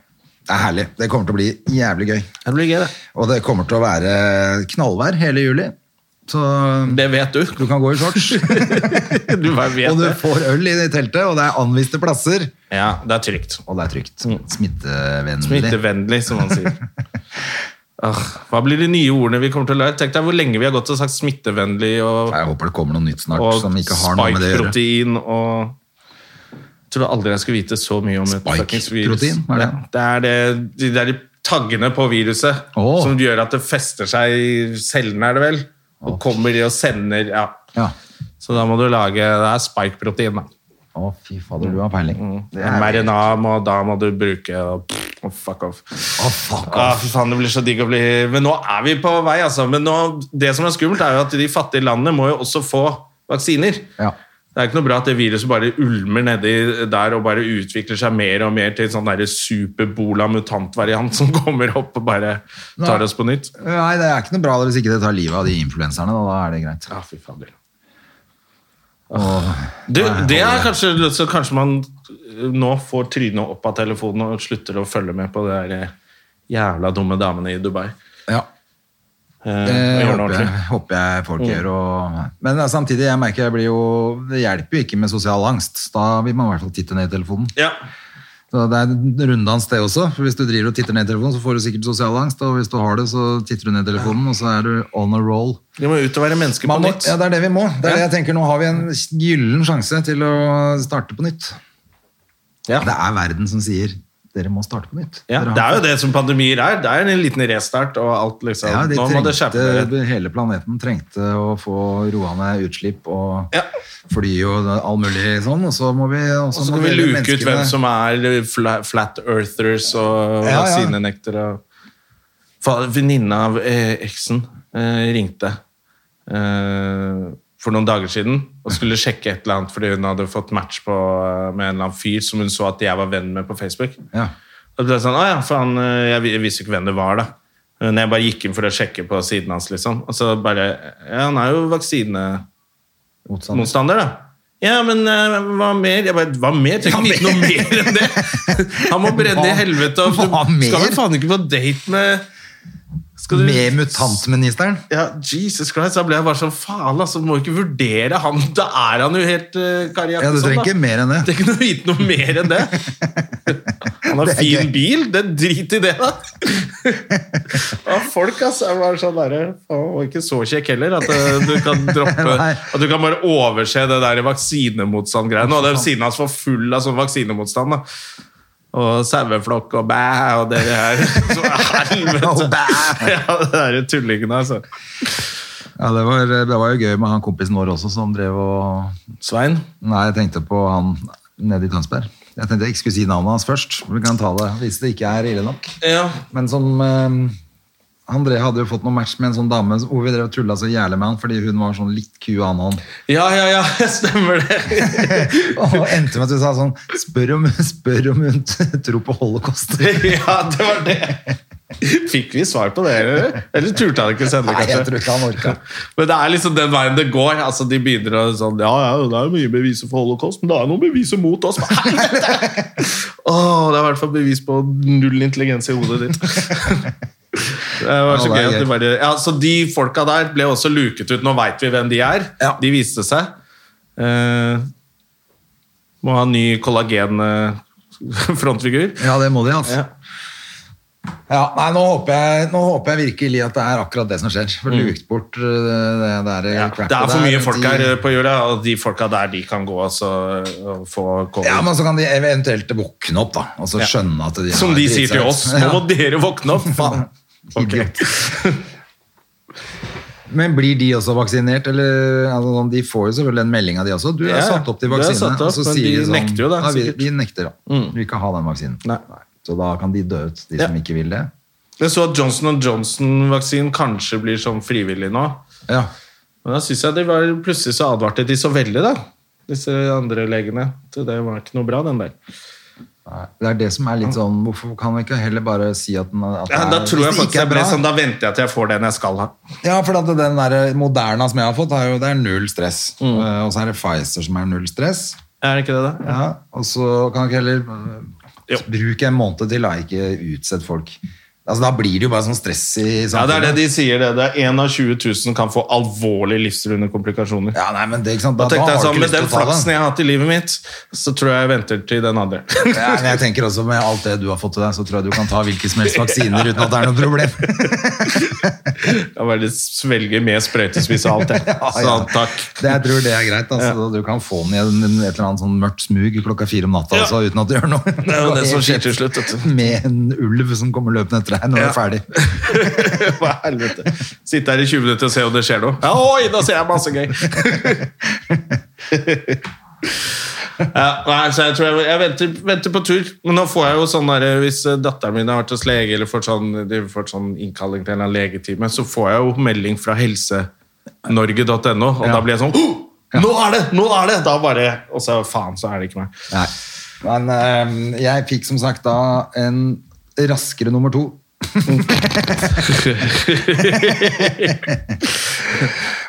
Det er herlig. Det kommer til å bli jævlig gøy. Det blir gøy, det. Og det kommer til å være knallvær hele juli. Så Det vet du. du kan gå i shorts. Du bare vet og du det. får øl i teltet, og det er anviste plasser. Ja, det er trygt. Og det er trygt. Smittevennlig. Mm. Smittevennlig, som man sier. Ah, hva blir de nye ordene vi kommer til å lære? Tenk deg hvor lenge vi har gått og sagt smittevennlig og, Jeg håper det kommer noe nytt snart og som ikke har noe med det å gjøre. spike-protein og Jeg tror aldri jeg skulle vite så mye om et Spike-protein, fuckings virus. hva er det? Ja, det er det, de der taggene på viruset Åh. som gjør at det fester seg i cellene, er det vel? Og kommer de og sender Ja. Ja. Så da må du lage Det er spike-protein, da. Å, fy fader, du har peiling. Mm. Det er- MRNA, og da må du bruke og, og fuck off. Å, fuck Ah, off. fy faen, det blir så digg å bli Men nå er vi på vei, altså. Men nå, det som er skummelt, er jo at de fattige landene må jo også få vaksiner. Ja. Det er ikke noe bra at det viruset bare ulmer nedi der og bare utvikler seg mer og mer til en sånn derre superbola-mutant-variant som kommer opp og bare tar Nei. oss på nytt. Eh, Nei, det er ikke noe bra hvis ikke det tar livet av de influenserne. Da, da er det greit. Ah, fy fader. Og, Det, det er kanskje Så kanskje man eh, nå får trynet opp av telefonen og slutter å følge med på de der eh, jævla dumme damene i Dubai. ja. Eh, Det og gjør håper, jeg, det ordentlig. Mm. håper jeg folk gjør. Og, men samtidig, jeg merker jeg blir jo, det hjelper jo ikke med sosial angst. Da vil man i hvert fall titte ned i telefonen. Ja. Så det er en runddans det også. For hvis du driver og titter ned i telefonen, så får du sikkert sosial angst. Og hvis du har det, så titter du ned i telefonen, og så er du on a roll. Vi må ut og være mennesker på Man må, nytt. ja, det er det vi må. Det Ja. er det jeg tenker, Nå har vi en gyllen sjanse til å starte på nytt. Ja. Det er verden som sier dere må starte på nytt. Ja, Dere har det er jo fått- det som pandemier er. Det er en liten restart og alt, liksom. Ja, de Nå må det skjerpe dere. trengte, hele planeten trengte å få roa ned utslipp og Ja. fly og all mulig sånn. Og så må vi, og Og så må skal vi dere luke ut hvem menneskene- som er fla- flat earthers og Ja, ja. vaksinenektere. Fa- Venninna av eh, eksen eh, ringte eh, for noen dager siden og skulle sjekke et eller annet fordi hun hadde fått match på, eh, med en eller annen fyr som hun så at jeg var venn med på Facebook. ja. Og det ble sånn, «Å ja, faen, eh, jeg vi- jeg visste ikke hvem det var da. Men jeg bare gikk inn for å sjekke på siden hans, liksom. Og så bare, ja, han er jo vaksinemotstander motstand. da. Ja, men eh, hva mer? Jeg bare, hva mer? Trenger ikke vite noe mer enn det. Han må brenne i Hva- helvete. Og hva du skal mer? vel faen ikke på date med... Skal du- Med mutantministeren? Ja, Jesus Christ, da ble jeg bare sånn, faen altså, du må ikke vurdere han. Da er han jo helt uh, karriere. Ja, du trenger ikke mer enn Det det. er ikke noe å vite noe mer enn det. Han har Det er fin gøy. bil, det er drit i det, da. Ja, folk altså, er bare sånn derre Og ikke så kjekk heller, at eh, du kan droppe Nei. At du kan bare overse det der vaksinemotstand-greiene. Og den siden hans var full av sånn vaksinemotstand. da og saueflokk og bæ og det der. Så Og helvete! Ja, det der tullingene, altså. Ja, det var, det var jo gøy med han kompisen vår også, som drev og Svein? Nei, jeg tenkte på han nede i Tønsberg. Jeg tenkte jeg ikke skulle si navnet hans først. men Vi kan ta det hvis det ikke er ille nok. Ja. Men som eh, André hadde jo fått noe match med en sånn dame hvor vi drev og tulla så jævlig med han fordi hun var sånn litt ku annen. ja, ja, ja, stemmer det. Og endte med at hun sa sånn Spør om, spør om hun tror på holocaust. Ja, det var det. Fikk vi svar på det, eller? Eller turte han ikke sende, Nei, kanskje? jeg tror ikke han orka. Men det er liksom den veien det går. Altså, de begynner å sånn Ja, ja, det er jo mye beviser for holocaust, men det er noen beviser mot oss. Men helvete! Åh, det er i hvert fall bevis på null intelligens i hodet ditt. Det var Ja, det er så gøy at de gøy. bare Ja, så de folka der ble også luket ut. Nå veit vi hvem de er. Ja. De viste seg. Eh, må ha ny eh, kollagen-frontfigur. Ja, det må de, altså. Ja. Ja. nei, nå håper, jeg, nå håper jeg virkelig at det er akkurat det som skjer. For lukt bort øh, det, det der Mm. Ja, cracket det er for der, mye de- folk her eh, på jorda, og de folka der de kan gå altså, og få covid. Ja, men så kan de eventuelt våkne opp, da. Og så skjønne at de har Som de driti sier til seg ut. oss. Nå må dere våkne opp! Faen. Faen. Ok. Idiot. Men blir de også vaksinert? Eller, altså, sånn, de får jo selvfølgelig en melding av de også. Du er Ja, satt opp til du er vaksine. satt opp, og så men sier sånn, de nekter jo det, Ja, vi, sikkert. Mm. de nekter, da. Vi vil ikke ha den vaksinen. Nei. Så da kan de dø ut, de Ja. som ikke vil det. Jeg så at Johnson Johnson-vaksinen kanskje blir sånn frivillig nå. Ja. Men da synes jeg de var, plutselig så advarte de så veldig, da. Disse andre legene. Så Det var ikke noe bra, den der. Det er det som er litt sånn Hvorfor kan vi ikke heller bare si at den at Ja, det da er- tror hvis det jeg ikke faktisk er jeg ble bra? sånn, da venter jeg til jeg får den jeg skal ha. Ja, for at den der Moderna som jeg har fått, er jo, det er null stress. Mm. Eh, Og så er det Pfizer som er null stress. Er det ikke det, da? Ja, og så kan jeg ikke heller øh, Jo. bruke en måned til, da. Ikke utsett folk. Altså, da blir det jo bare sånn stress i Ja, det er det samfunnet. de sier. det. det er Én av 20 000 kan få alvorlige livstruende komplikasjoner. Ja, nei, men det, ikke sant? Da tenkte har jeg sånn, du Med ikke den lyst til å ta flaksen den. jeg har hatt i livet mitt, så tror jeg jeg venter til den andre. Ja, men jeg tenker også Med alt det du har fått til deg, så tror jeg du kan ta hvilke som helst vaksiner uten at det er noe problem. Jeg bare svelger med sprøytespiss og alt, jeg. Så ja. takk. Det, jeg tror det er greit. Altså, Du kan få den i en, en, et eller annet sånn mørkt smug klokka fire om natta Ja. altså, uten at du gjør noe. Det er jo det som skjer til slutt. vet du. Med en ulv som kommer løpende etter deg når du Ja. er ferdig. Hva i helvete. Sitte her i 20 minutter og se om det skjer noe. Ja, oi, da ser jeg masse gøy! Ja, nei, så jeg tror jeg, jeg venter, venter på tur. Men nå får jeg jo sånn der, hvis eh, datteren min har vært hos lege, eller får sånn, de får sånn innkalling til en eller annen legetime, så får jeg jo melding fra helsenorge.no, og da blir jeg sånn «Åh, Nå er det! Nå er det! Da bare Og så faen, så er det ikke meg. Nei. Men eh, jeg fikk som sagt da en raskere nummer to.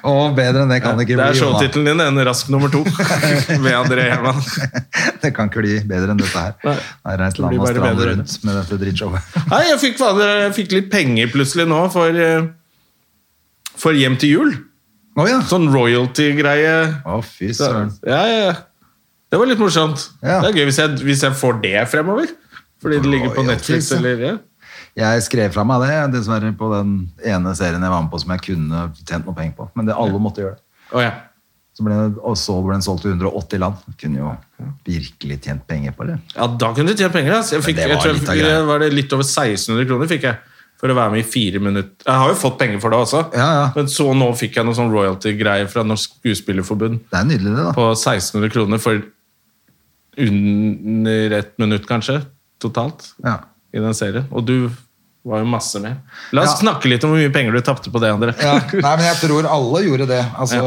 Og bedre enn det kan det Det ikke er bli. Jonna. showtittelen din, en rask nummer to ved André Herman. Det kan ikke bli bedre enn dette her. Nei. Det er et Det land blir og bare strand bedre. rundt med dette drittshowet. Nei, jeg fikk, fader, jeg fikk litt penger plutselig nå for, eh, for hjem til jul. Å ja. Sånn royalty-greie. Å, fy Ja, søren. ja, ja. Det var litt morsomt. Ja. Det er gøy hvis jeg, hvis jeg får det fremover. Fordi det ligger på Netflix Royalties, ja. eller ja. Jeg skrev fra meg det, dessverre, på den ene serien jeg var med på som jeg kunne tjent noe penger på. Men det, alle måtte gjøre det. Å, ja. Så ble, og så ble den solgt til 180 land. Jeg kunne jo virkelig tjent penger på det. ja, da kunne du tjent penger. ass. Jeg Men fikk, det jeg var tror jeg, litt av fikk- greia. var det litt over 1600 kroner fikk jeg for å være med i fire minutter. Jeg har jo fått penger for det også. Ja, ja. Men så nå fikk jeg noen sånn royalty-greier fra Norsk Skuespillerforbund. Det er nydelig, det, da. på 1600 kroner for under ett minutt, kanskje, totalt, Ja. i den serien. Og du var jo masse med. La oss Ja. snakke litt om hvor mye penger du tapte på det, André. Ja. Nei, men jeg tror alle gjorde det. Altså,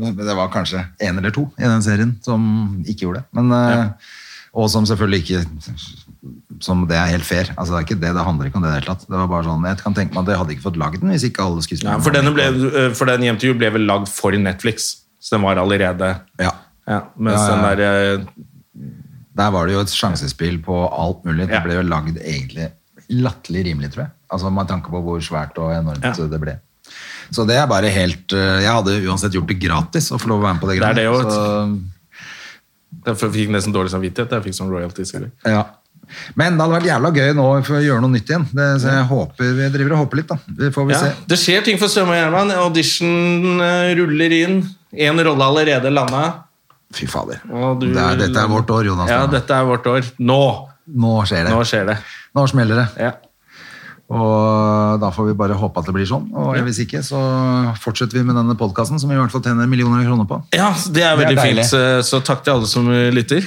Det var kanskje én eller to i den serien som ikke gjorde det. Men, eh, Og som selvfølgelig ikke som Det er helt fair. Altså, det er ikke det, det handler ikke om det i det hele tatt. Det var bare sånn, Jeg kan tenke meg at jeg hadde ikke fått laget den hvis ikke alle Ja, skuespillerne for, var denne med ble, på den. eh, for den Hjem til jul ble vel lagd for Netflix, så den var allerede ja. ja, Mens Ja, ja, ja. den der eh, Der var det jo et sjansespill på alt mulig. Det Ja. ble jo lagd egentlig latterlig rimelig, tror jeg. Altså Med tanke på hvor svært og enormt Ja. det ble. Så det er bare helt eh, Jeg hadde uansett gjort det gratis å få lov å være med på det. Det er det jo, greiene. vet du. Så- Derfor eh, fikk jeg nesten dårlig samvittighet. Jeg fikk sånn royalties. eller? Ja. Men det hadde vært jævla gøy nå for å gjøre noe nytt igjen. Det, så jeg håper, vi driver og håper litt, da. Det får vi Ja, se. det skjer ting for Strømme og Gjerman. Audition eh, ruller inn. Én rolle allerede landa. Fy fader. og du- Det er, dette er vårt år, Jonas. Ja, dette er vårt år. Nå! Nå skjer det. Nå skjer det. Nå smeller det. Ja. Og da får vi bare håpe at det blir sånn. Og hvis ikke, så fortsetter vi med denne podkasten, som vi i hvert fall tjener millioner av kroner på. Ja, det er Det er veldig deilig. fint. Så- Så takk til alle som eh, lytter.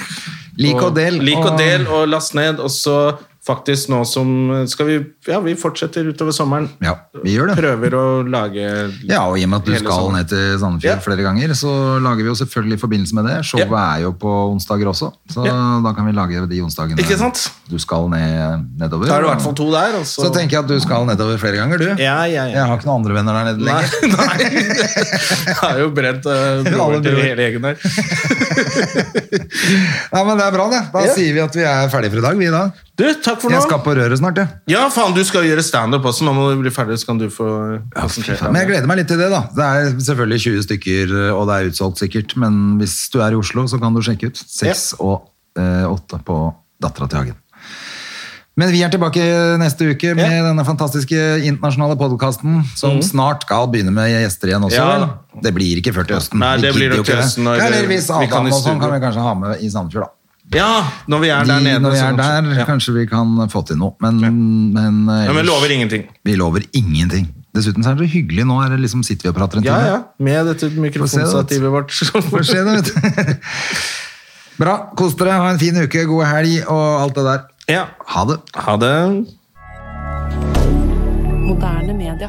Lik og del, Lik og, og- del, og last ned. Og så faktisk nå som eh, skal vi, Ja, vi fortsetter utover sommeren. Ja, vi gjør det. Prøver å lage Ja, og i og med at du Hele skal sommeren. ned til Sandefjord Ja. flere ganger, så lager vi jo selvfølgelig i forbindelse med det. Showet Ja. er jo på onsdager også, så da kan vi lage de onsdagene Ikke sant? du skal ned, nedover. Da er det i hvert fall to der. Og så, Så tenker jeg at du skal nedover flere ganger, du. Ja, ja, ja. Jeg har ikke noen andre venner der nede Nei, lenger. nei. Jeg har jo brent eh, Alle broren til broer. hele gjengen der. Nei, men det er bra, det. Da sier vi at vi er ferdige for i dag, vi da. Du, takk for Jeg skal nå. på røret snart, jeg. Ja, faen, du skal gjøre standup også. Nå må du bli ferdig, så kan du få konsentrere Men jeg gleder meg litt til det, da. Det er selvfølgelig 20 stykker, og det er utsolgt sikkert. Men hvis du er i Oslo, så kan du sjekke ut. 6 og 8 på Dattera til Hagen. Men vi er tilbake neste uke med denne fantastiske internasjonale podkasten, som snart skal begynne med gjester igjen også. Mhm. Ja, vel? da. det blir ikke før til høsten. Nei, det blir gidder nok jo til ikke det. høsten når ja, eller hvis vi Adam kan i og sånn kan studio. vi kanskje ha med i Sandefjord, da. Ja, når vi er der De- nede. når vi så er der, kanskje- kanskje vi kan få til noe. Men, men, eh, ja. ellers- Men vi lover ingenting. vi lover ingenting. Dessuten så er det så hyggelig nå, er det liksom sitter vi og prater en Ja, time. ja. Med dette mikrofonstativet vårt. Får se det, vet du. Bra, kos dere, ha en fin uke, god helg og alt det der. Ja. Ha det. Ha det. Moderne media.